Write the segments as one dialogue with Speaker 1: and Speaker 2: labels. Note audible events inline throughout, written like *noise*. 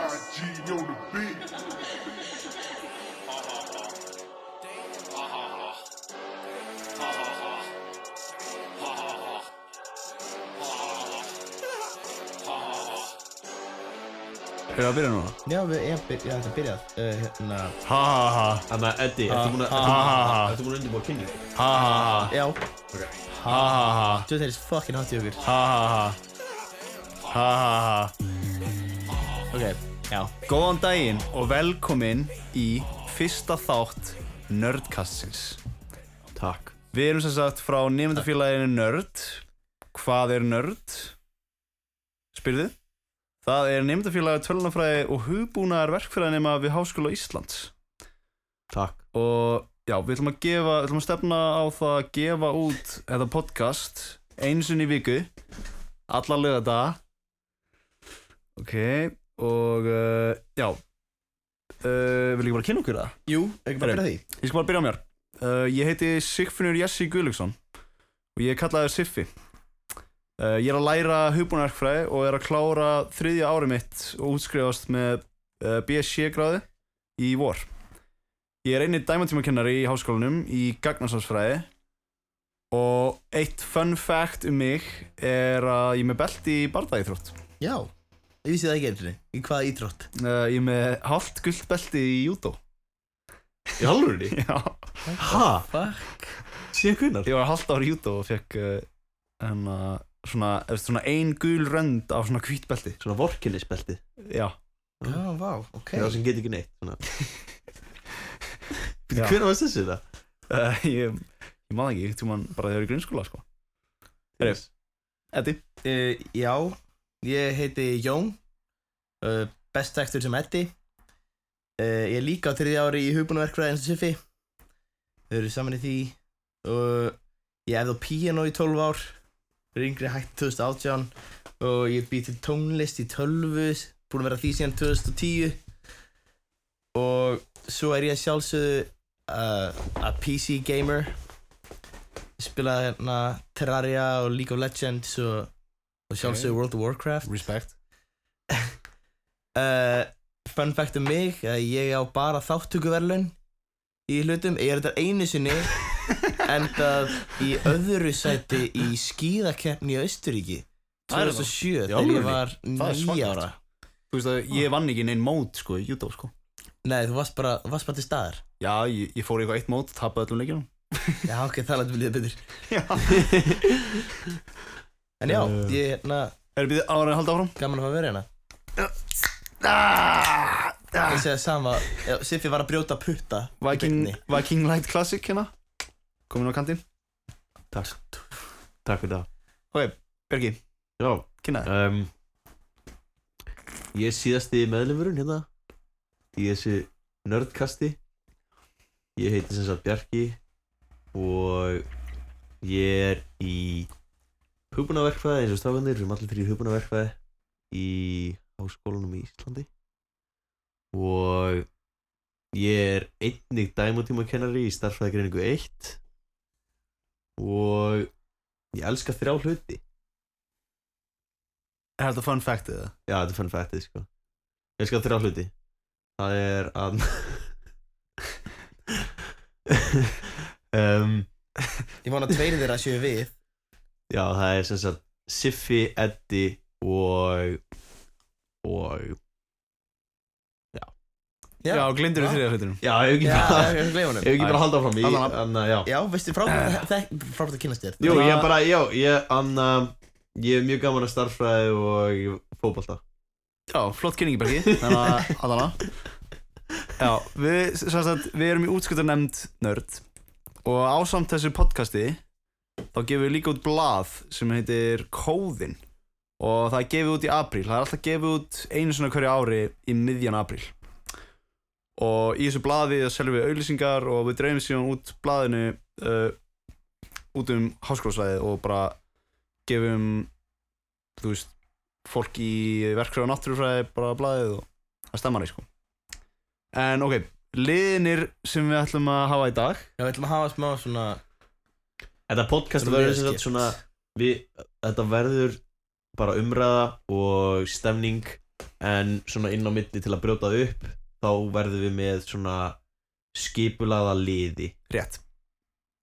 Speaker 1: YG on the beat.
Speaker 2: Er það að byrja núna?
Speaker 3: Já, við erum byrjað, já, þetta er byrjað uh, hérna,
Speaker 2: Ha ha ha
Speaker 4: Þannig að Eddi, ertu búin að
Speaker 2: ha, ha, ha.
Speaker 4: Ertu búin að undirbúa kynningu?
Speaker 2: Ha ha ha
Speaker 3: Já,
Speaker 2: Ha ha ha
Speaker 3: þú þeirist fucking hot í okkur
Speaker 2: Ha ha ha Ha ha ha
Speaker 3: Ok, já
Speaker 2: Góðan daginn og velkomin í fyrsta þátt Nerdkastsins
Speaker 4: Takk
Speaker 2: Við erum sem sagt frá nefndafélaginu Nerd Hvað er Nerd? Spyrðu Það er nefndafélagi tölunafræði og hugbúnaðar verkfræðinema við Háskóla Íslands
Speaker 4: Takk
Speaker 2: og já, við ætlum að gefa við ætlum að stefna á það að gefa út þetta podcast einu sinni í viku alla lögða dag ok og uh, já uh, vil ég bara kynna okkur það?
Speaker 3: Jú, ekki bara
Speaker 2: Herru.
Speaker 3: byrja því
Speaker 2: Ég skal bara byrja á mér uh, Ég heiti Sigfinnur Jessi Guðlöksson og ég er kallaður Siffi uh, Ég er að læra hugbúnarkfræði og er að klára þriðja ári mitt og útskrifast með uh, BSC gráði í vor Ég er einni dæmantímakennari í háskólanum í gagnarsámsfræði og eitt fun fact um mig er að ég er með belti í barðaíþrótt
Speaker 3: Já, ég vissi það ekki einu sinni Í hvaða ítrótt
Speaker 2: uh, Ég er með hálft gullt belti í júdó
Speaker 4: Í alvörunni?
Speaker 2: Já
Speaker 4: Ha?
Speaker 3: Fuck
Speaker 4: Síðan hvinnar?
Speaker 2: ég var halvt ári í júdó og fekk uh, hana, svona, eftir, svona ein gul rönd af svona hvítbelti
Speaker 4: Svona vorkinnisbelti
Speaker 2: já,
Speaker 3: Já, vá, ok
Speaker 4: Það sem get ekki neitt
Speaker 3: *laughs*
Speaker 4: Svona
Speaker 2: Já.
Speaker 4: Hvernig var þessi það?
Speaker 2: uh, ég, ég maður ekki, þú mann bara þegar ég var í grunnskóla sko. Herru. Eddi,
Speaker 3: uh, Já, ég heiti Jón uh, Best tekstur sem Eddi uh, Ég er líka á þriðja ári í hugbúnaverkfræði eins og Siffi Þau eru saman í því uh, Ég hefði á piano í 12 ár Ringri hægt 2018 Og ég býr til tónlist í 12 Búin að vera að því síðan 2010 Og svo er ég að sjálfsögðu uh, að PC gamer Spila hérna Terraria og League of Legends og, og sjálfsögðu World of Warcraft
Speaker 2: respect
Speaker 3: uh, Fun fact um mig að Ég á bara þáttökuverlun Í hlutum Ég er þetta
Speaker 2: *laughs*
Speaker 3: einu sinni Endað í öðru sæti Í skíðakeppni í Austuríki
Speaker 2: Það er það.
Speaker 3: 2007
Speaker 2: Í
Speaker 3: Þegar
Speaker 2: alvörunni?
Speaker 3: ég var
Speaker 2: Það er
Speaker 3: nýja
Speaker 2: svakalegt.
Speaker 3: ára
Speaker 2: þú veist að ég vann ekki neinn mót sko, í júdó sko.
Speaker 3: Nei, þú varst bara, þú varst bara til staðar
Speaker 2: já, ég, ég fór í eitthvað eitt mót, tapaði öllum leikjum
Speaker 3: Já, ok, það lætum við liða betur En já,
Speaker 2: Eh.
Speaker 3: ég er hérna
Speaker 2: er það ára að halda áfram?
Speaker 3: gaman að fá að vera hérna
Speaker 2: Ah,
Speaker 3: Ég segja sama, já, Siffi var að brjóta putta í
Speaker 2: Viking,
Speaker 3: beinni.
Speaker 2: Viking Light Classic hérna komin á kantinn
Speaker 4: Takk Takk fyrir það
Speaker 2: Bergi,
Speaker 4: Já
Speaker 2: kynnaði
Speaker 4: um, Ehm, Ég er síðasti meðlumurinn hérna Í þessu nördkasti Ég heiti sem sagt Bjarki Og ég er í Hugbúnaverkfæði eins og stafanir Við erum allir þrjir hugbúnaverkfæði Í háskólanum í Íslandi Og Ég er einnig dæmutíma kennari Í starffræðgreiningu 1 Og Ég elska þrjá hluti
Speaker 2: er þetta fun fact eða?
Speaker 4: Já, þetta er fun factið, sko Ég skal þrjá hluti Það er að *laughs* um,
Speaker 3: Ég vona að tveiri þeirra séu við
Speaker 4: Já, það er sem sagt Siffi, Eddi og og
Speaker 3: Já.
Speaker 2: já, glindur í
Speaker 3: Já.
Speaker 2: þriðja hlutinum
Speaker 4: Já, ef ekki
Speaker 3: Já,
Speaker 4: bara
Speaker 3: ég er
Speaker 4: Ef ekki
Speaker 3: gleifunum
Speaker 4: bara halda áfram í
Speaker 2: Halda áfram.
Speaker 4: Anna, já Eh.
Speaker 3: Já, veistu, frábært að kynast þér
Speaker 4: Jú,
Speaker 2: Þannig
Speaker 4: ég
Speaker 2: að-
Speaker 4: bara, já, ég, Anna Ég er mjög gaman að starffræði og fótbolta
Speaker 2: Já, flott kynningi Bergi Þannig að allan að Já, við, sem sagt, við erum í útskriftarnemnd nörd og ásamt þessu podcasti þá gefum við líka út blað sem heitir Kóðinn og það er gefið út í apríl það er alltaf gefið út einu svona hverju ári í miðjan apríl og í þessu blaði það seljum við auðlýsingar og við dreifum síðan út blaðinu uh, út um háskólasvæði og bara gefum þú veist fólk í verkfræði og náttúrufræði bara blæðið og það stemmar í sko en ok, liðinir sem við ætlum að hafa í dag
Speaker 3: Já, við ætlum að hafa smá svona
Speaker 4: Þetta podcast
Speaker 3: Svona
Speaker 4: verður sem sagt
Speaker 3: liðskipt.
Speaker 4: svona við, Þetta verður bara umræða og stemning en svona inn á milli til að brjóta það upp þá verðum við með svona skipulaða liði
Speaker 2: rétt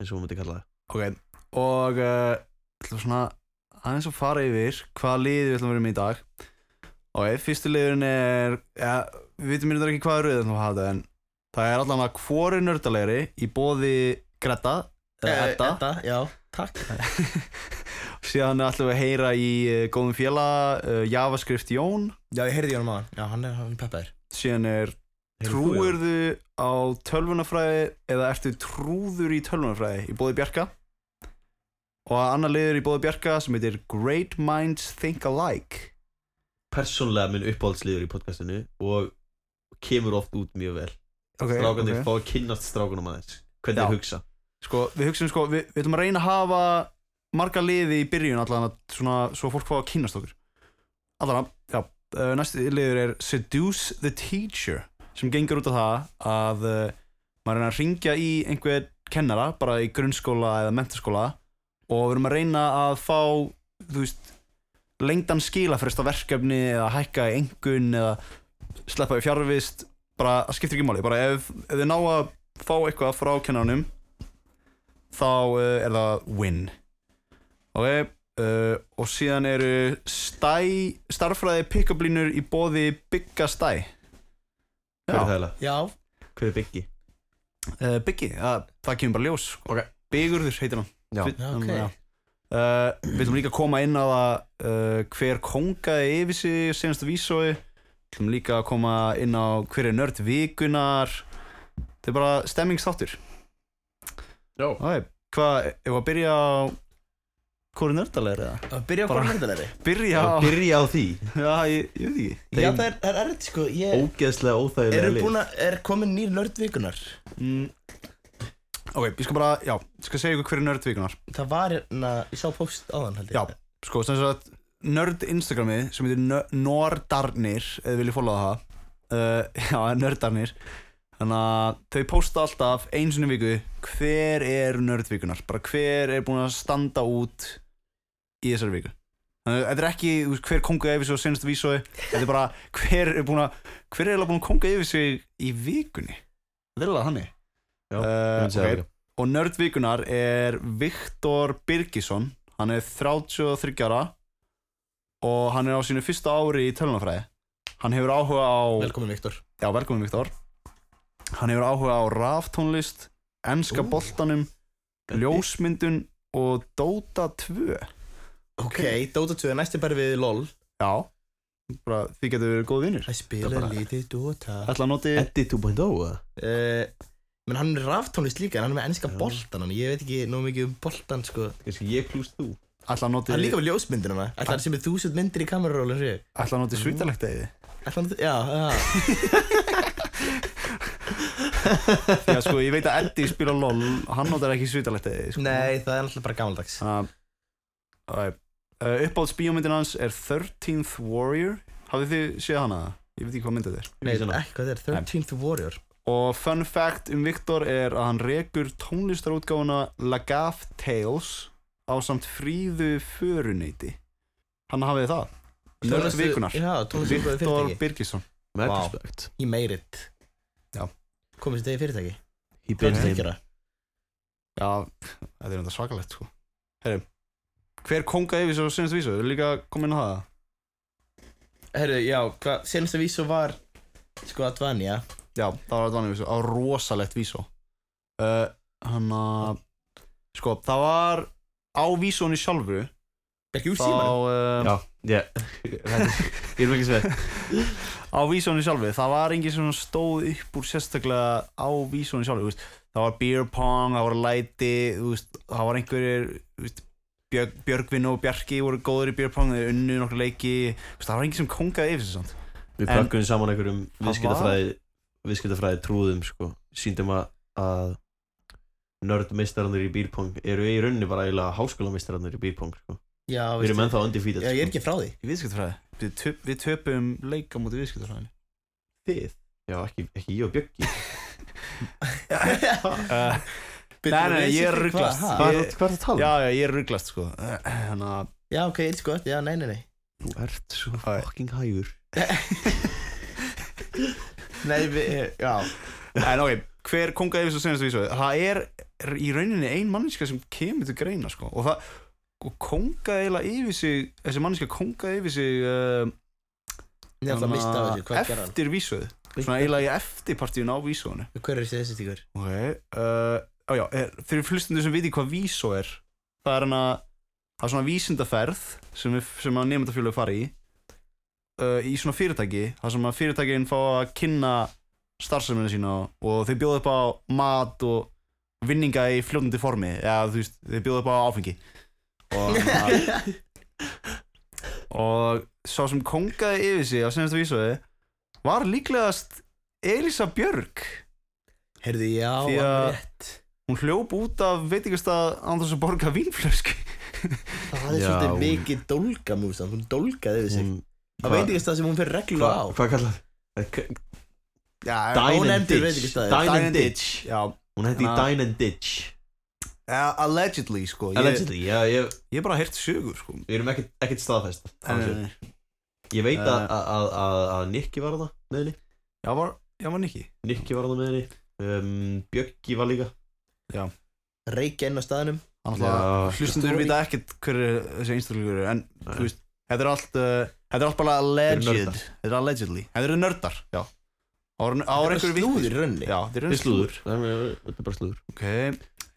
Speaker 4: eins og við myndum kalla það
Speaker 2: Ok, og uh, ætlum svona aðeins að fara yfir hvaða liði við ætlum að vera með í dag Ok, fyrstu liðurinn er ja, við vitum mér ekki hvaða rauð ætlum að hafa þetta en það er allan að hvori nördalegri í bóði Greta eða
Speaker 3: Eh,
Speaker 2: Edda
Speaker 3: Edda, já, takk
Speaker 2: *laughs* síðan ætlum við að heyra í uh, góðum fjöla uh, Javascript Jón
Speaker 3: Já, ég heyrði í honum aðan Já, hann er hann peppaður
Speaker 2: síðan er
Speaker 4: Heyrðu þú, já?
Speaker 2: trúirðu á tölvunafræði eða ertu trúður í tölvunafræði í bóði Bjarka og annar liður í bóði Bjarka sem heitir Great Minds Think Alike
Speaker 4: persónlega minn uppáhaldsliður í podcastinu og kemur oft út mjög vel
Speaker 2: okay,
Speaker 4: strákanir fá að kynnast strákunum aðeins hvernig
Speaker 2: Já.
Speaker 4: þeir hugsa
Speaker 2: sko, við hugsaum sko, við, við ætlum að reyna að hafa marga liði í byrjun allan að svona, svo fólk fá að kynast okkur allan að, já, uh, næsti liður er Seduce the Teacher sem gengur út á það að uh, maður reyna að ringja í einhver kennara, bara í grunnskóla eða mentaskóla og við erum að reyna að fá, þú veist lengdan skila fyrir þetta verkefni eða hækka í engun eða sleppa í fjarvist bara, það skiptir ekki máli, bara ef, ef þið ná að fá eitthvað frá kennaranum þá uh, er það win ok uh, og síðan eru stæ starfræði pick-up línur í bóði bygga stæ
Speaker 4: hver er það eiginlega?
Speaker 3: Já,
Speaker 4: hver er byggi?
Speaker 2: uh, byggi, það, það kemur bara ljós okay. byggurður heitir hann
Speaker 4: Já.
Speaker 2: Við-
Speaker 3: Já,
Speaker 2: um,
Speaker 3: ok.
Speaker 2: já. Uh, við viljum líka koma inn á það uh, hver kongaði yfir sig senastu vísói við viljum líka koma inn á hver er nörd vikunar þetta er bara stemmingstáttur
Speaker 4: Já.
Speaker 2: okay. hvað, ef að byrja á hvað er nördalegri eða?
Speaker 3: að byrja á
Speaker 2: Bara-
Speaker 3: hvort myndalegri
Speaker 2: *laughs* byrja á
Speaker 4: að byrja á því
Speaker 2: Já, ég, ég veit ekki
Speaker 3: Ah. Já, það er, það er erfitt sko Ég
Speaker 4: ógeðslega óþægilega
Speaker 3: Erum
Speaker 4: lið
Speaker 3: búin að, er komin nýr nördvikunar
Speaker 2: mm. Ok, ég skal bara, já, ég skal segja ykkur hverju nörd vikunar
Speaker 3: Það var hérna, ég sá post áðan held ég
Speaker 2: Já. Sko, sem sagt, nörd Instagramið sem heitir Nö- Nordarnir eða viljið fólaða það uh, *laughs* Já, nördarnir Þannig að þau posta alltaf einu sinni í viku hver er nörd vikunar bara hver er búin að standa út í þessari viku Þannig að þetta er ekki þú veist, hver kongu yfir sig og senast vísói Þetta er bara hver er búin að hver er eiginlega búin að konga yfir sig í vikunni Þetta er alveg þannig
Speaker 4: Já,
Speaker 2: uh,
Speaker 4: Ég myndi segja
Speaker 2: ok.
Speaker 4: það líka.
Speaker 2: Og nördvíkunar er Viktor Birgisson Hann er 33 ára og hann er á sínu fyrsta ári í tölunafræði Hann hefur áhuga á
Speaker 3: Velkomin Viktor
Speaker 2: Já, velkomin Viktor Hann hefur áhuga á raftónlist Enska
Speaker 3: Ú.
Speaker 2: boltanum Ljósmyndun og Dota 2
Speaker 3: Ok, Dota 2, næst er bara við LOL
Speaker 2: Já bara, Þið getur verið góð vinnir
Speaker 3: Það spila
Speaker 4: bara-
Speaker 3: lítið Dota
Speaker 2: Ætla að noti
Speaker 4: Eddi 2.0 eða?
Speaker 3: uh, Menn hann er raftónlist líka, en hann er með ennska
Speaker 4: Já.
Speaker 3: boltan hann. Ég veit ekki nóg mikið um boltan sko
Speaker 4: kannski ég plúst þú
Speaker 2: Ætla að noti
Speaker 3: Hann er líka með ljósmyndinuna Ætlar hann sem er þúsund myndir í kamerarólinn sér
Speaker 2: Ætla að noti svítalegt eði
Speaker 3: Ætlar hann, já, já
Speaker 2: Já, sko, ég veit að Eddi spila LOL Hann notar ekki svítalegt eði sko.
Speaker 3: Nei, það er alltaf bara gammaldags
Speaker 2: Þannig að uh, uppáhalds bíómyndin hans er 13th Warrior Hafið þið séð hana? Ég veit ekki hvað myndið er
Speaker 3: Nei, ekki hvað þetta er, 13th Warrior
Speaker 2: Og fun fact um Viktor er að hann rekur tónlistarútgáfuna Lagaf Tales á samt fríðu föruneyti Hann hafið það Nörd
Speaker 3: Tónlist-
Speaker 2: vikunar
Speaker 3: Já, tónlistu
Speaker 2: Viktor
Speaker 3: fyrirtæki
Speaker 2: Birgisson
Speaker 4: með
Speaker 3: Vá.
Speaker 4: respekt
Speaker 3: Ég meirit
Speaker 2: Já.
Speaker 3: Komist þetta í fyrirtæki
Speaker 4: he built him
Speaker 3: Fyrirtækjara
Speaker 2: Já, þetta er enda svakalegt sko Herri, hver konga yfir svo senast vísu? Við erum líka komin að það
Speaker 3: Herru, já, hvað, senasta vísu var Sko að dvanja
Speaker 2: Já, það var Advani Visó á rosalegt Visó uh, Hann að sko, það var á Visónu sjálfu
Speaker 3: Ekki úr
Speaker 2: þá,
Speaker 3: símanum
Speaker 2: um,
Speaker 4: já *laughs* ég ég er ekki sveið
Speaker 2: á Visónu sjálfu, það var engin sem stóð upp úr sérstaklega á Visónu sjálfu þú veist. það var beer pong, það var læti þú veist, það var einhverjir þú veist, Björg, Björgvin og Bjarki voru góður í beer pong, þeir unnu nokkru leiki þú veist, það var engin sem kongaði yfir þessu samt
Speaker 4: Við
Speaker 2: En-
Speaker 4: plökkum saman einhverjum
Speaker 2: Það
Speaker 4: viðskiptafræði viðskiptafræði trúðum sko síndum að, að nördmeistararnir í bírpong eru í rauninni bara eiginlega háskólameistararnir í bírpong sko.
Speaker 3: Já,
Speaker 4: Við
Speaker 3: veistu
Speaker 4: erum ennþá undefeated sko.
Speaker 3: Já, ég er ekki frá því
Speaker 2: í viðskiptfræði, við, töp, við töpum *laughs* leika mútið viðskiptfræðinu
Speaker 4: þið Já, ekki, ekki ég og Bjöggi
Speaker 2: uh, Nei, nei, ég er ruglast.
Speaker 3: Hvað?
Speaker 2: Ha?
Speaker 4: Hvað er það að tala? um?
Speaker 2: Já, já, ég er rugglast sko *clears throat* Þannig að
Speaker 3: Já, ok, it's good, já, nei, nei, nei
Speaker 4: Þú ert svo
Speaker 2: Æ.
Speaker 4: fucking hægur
Speaker 3: *laughs* Nei, við, já
Speaker 2: En ok, hver konga yfir svo senast vísu Það er í rauninni ein manniska sem kemur til greina sko Og það, og konga eiginlega yfir sig Þessi manniska konga yfir sig uh,
Speaker 3: Ég ætla að mista á þessu, hvað gerði hann?
Speaker 2: Eftir vísuð Svona eiginlega í eftirpartíun á vísuðinu
Speaker 3: Hver er þessi tíkur?
Speaker 2: Ok, uh, á já, er, fyrir flustundu sem viti hvað vísu er Það er hann að Það er svona vísindaferð sem, við- sem að nefndafjölu fara í uh, Í svona fyrirtæki Það sem að fyrirtækin fá að kynna starfseminu sína og þeir bjóða upp á mat og vinninga í fljóðandi formi eða þú veist, þeir bjóða upp á áfengi og, og sá sem kongaði yfir sig á senasta vísuði var líklegast Elisa Björg
Speaker 3: Herðu, já,
Speaker 2: Því
Speaker 3: alveg
Speaker 2: að-
Speaker 3: rétt
Speaker 2: hún hljóp út af veitingastað án þess að borga vínflösk
Speaker 3: Það er
Speaker 4: Já,
Speaker 3: svolítið
Speaker 4: hún-
Speaker 3: mikið dólga músan, hún dólgaði yfir sig
Speaker 4: Hún-
Speaker 3: Það veit ekki stað sem hún fer reglulega á
Speaker 4: Hvað kallar það?
Speaker 2: Já,
Speaker 4: Dine and
Speaker 3: ónefndur
Speaker 4: Ditch
Speaker 3: veitingastaður.
Speaker 4: Dine
Speaker 2: Dine
Speaker 4: and
Speaker 2: and
Speaker 4: Ditch
Speaker 2: já
Speaker 4: Hún hætti
Speaker 2: Já.
Speaker 4: Dine and Ditch
Speaker 2: eh, allegedly sko ég,
Speaker 4: Allegedly, já, ég,
Speaker 2: ég hef bara heyrt sögur sko
Speaker 4: við erum ekkert, ekkert staðfest
Speaker 2: en,
Speaker 4: Ég veit að,
Speaker 2: Eh.
Speaker 4: að, að, að, að Nikki var það með henni
Speaker 2: já, var, já, var Nicky
Speaker 4: Nikki var það með henni um, Bjöggi var líka
Speaker 3: Reykja inn á staðnum
Speaker 2: Hann
Speaker 4: Já.
Speaker 2: alltaf hlustundur
Speaker 3: Story.
Speaker 2: vita ekkert hver er þessi einstaklingur er, en
Speaker 4: Nei.
Speaker 2: þú veist, þetta er allt uh, þetta er allt bara alleged
Speaker 4: Þetta eru nördar.
Speaker 2: þetta er allegedly, þetta eru nördar já, á
Speaker 3: Það er
Speaker 2: einhverju
Speaker 3: slúður í rauninni
Speaker 2: já, þetta
Speaker 4: Það
Speaker 2: eru
Speaker 4: er slúður Það er þetta er bara slúður
Speaker 2: ok,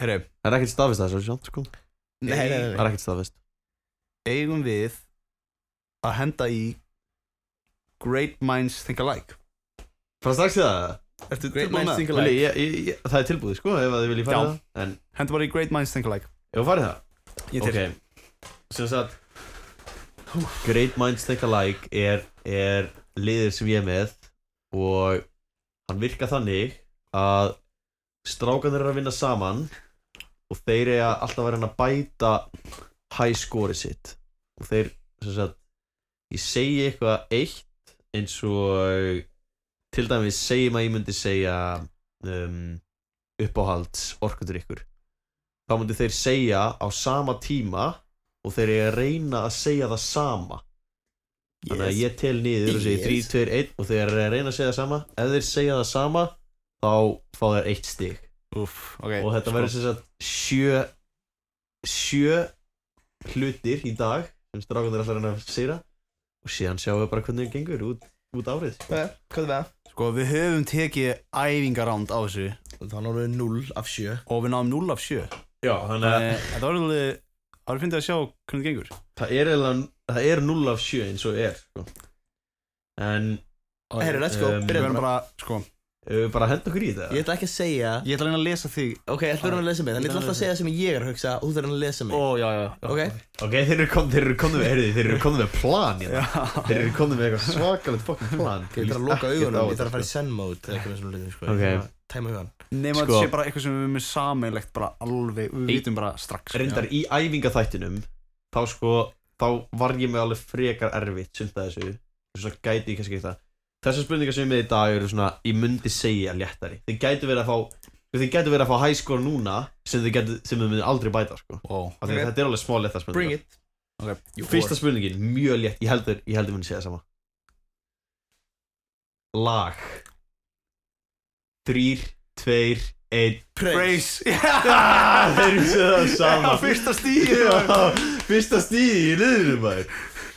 Speaker 2: herru,
Speaker 4: Það er ekkert staðfest það, svo sjátt sko
Speaker 3: Nei, nei, nei,
Speaker 4: Það er ekkert staðfest
Speaker 2: eigum við að henda í great minds think alike
Speaker 4: Fara strax í það
Speaker 2: ertu
Speaker 3: Great
Speaker 2: tilbúin
Speaker 3: minds
Speaker 2: með
Speaker 3: think
Speaker 2: það?
Speaker 3: alike.
Speaker 4: Vili, ég, ég, ég, Það er tilbúið sko ef að þið viljið fara
Speaker 2: Já.
Speaker 4: í það En
Speaker 2: henda bara í great minds think alike
Speaker 4: ef við farið það
Speaker 2: ég til,
Speaker 4: Ok, sem sagt Great Minds Think Alike er, er liðir sem ég er með og hann virkar þannig að strákanir eru að vinna saman og þeir eiga alltaf að vera hann að bæta high score sitt og þeir, sem sagt ég segi eitthvað eitt eins og til dæmis segjum að ég myndi segja um, uppáhalds orkundur ykkur þá myndu þeir segja á sama tíma og þeir eru að reyna að segja það sama þannig að
Speaker 3: Yes.
Speaker 4: ég tel niður og segi 3,
Speaker 3: Yes.
Speaker 4: 2, 1 og þeir eru að reyna að segja það sama ef þeir segja það sama þá fá þeir eitt stig
Speaker 2: uff, ok
Speaker 4: og þetta
Speaker 2: sko.
Speaker 4: verður sem sagt sjö sjö hlutir í dag sem strákundir allar reyna að segja og síðan sjáum við bara hvernig það gengur út, út árið
Speaker 3: Hvað hvað er það?
Speaker 2: sko, við höfum tekið æfingaránd á þessu
Speaker 3: Þannig að hún er 0 af 7
Speaker 2: og við náðum 0 af 7
Speaker 4: Já, þannig að
Speaker 2: Þannig að þetta var alveg Það var fyndið að sjá hvernig það gengur
Speaker 4: það er, eiginlega- það er 0 af 7 eins og er sko. en
Speaker 3: Herru, let's go,
Speaker 4: Um,
Speaker 2: Við
Speaker 3: byrjaðu
Speaker 2: verðum
Speaker 3: bara
Speaker 2: bara, sko
Speaker 4: Ef við bara henda okkur í þetta
Speaker 3: Ég ætla ekki að segja
Speaker 2: Ég ætla að reyna að lesa þig
Speaker 3: Ok, ég ætla að vera að lesa mig Þannig ég ætla alltaf að segja það sem ég er að hugsa og þú þarf að lesa mig
Speaker 2: já, já, já
Speaker 3: Ok,
Speaker 4: um Ok, þeir eru komið, þeir eru komið með, heyrðu, þeir eru komið með plan hérna.
Speaker 2: Já,
Speaker 4: Þeir eru komið með eitthvað svakalegt fokkin plan
Speaker 3: ég þarf að loka augunum Ég þarf að fara í send mode eða eitthvað með svona hlutum, sko.
Speaker 4: sko.
Speaker 3: Ég
Speaker 4: Ok.
Speaker 3: þarf að Tæma hugan
Speaker 2: nema
Speaker 4: Sko.
Speaker 2: þetta sé bara eitthvað sem við erum með sameinlegt bara alveg, við
Speaker 4: Í-
Speaker 2: vitum bara strax
Speaker 4: sko. Reyndar í æfingaþættinum, þá sko, þá var ég með alveg frekar erfitt sumt að þessu Þess að gæti ég kannski ekki það Þessar spurningar sem ég er með í dag eru svona, ég myndi segja léttari Þeir gætu verið að fá, þeir gætu verið að fá high score núna sem þeir gætu, sem þeir myndi aldrei bæta sko
Speaker 2: Ó,
Speaker 4: Af því
Speaker 3: Ok.
Speaker 4: að þetta er alveg smá léttar spurningar
Speaker 3: Bring it
Speaker 2: Ok.
Speaker 3: You
Speaker 4: Fyrsta
Speaker 3: whore.
Speaker 4: spurningin, mjög létt, ég heldur, ég heldur muni segja sama Lag Þrýr, tveir, einn
Speaker 3: Praise
Speaker 2: Brace *laughs* Já,
Speaker 4: Ah, Þeir eru sér það sama
Speaker 2: fyrsta stíð
Speaker 4: Já, Fyrsta stíði í liðinu maður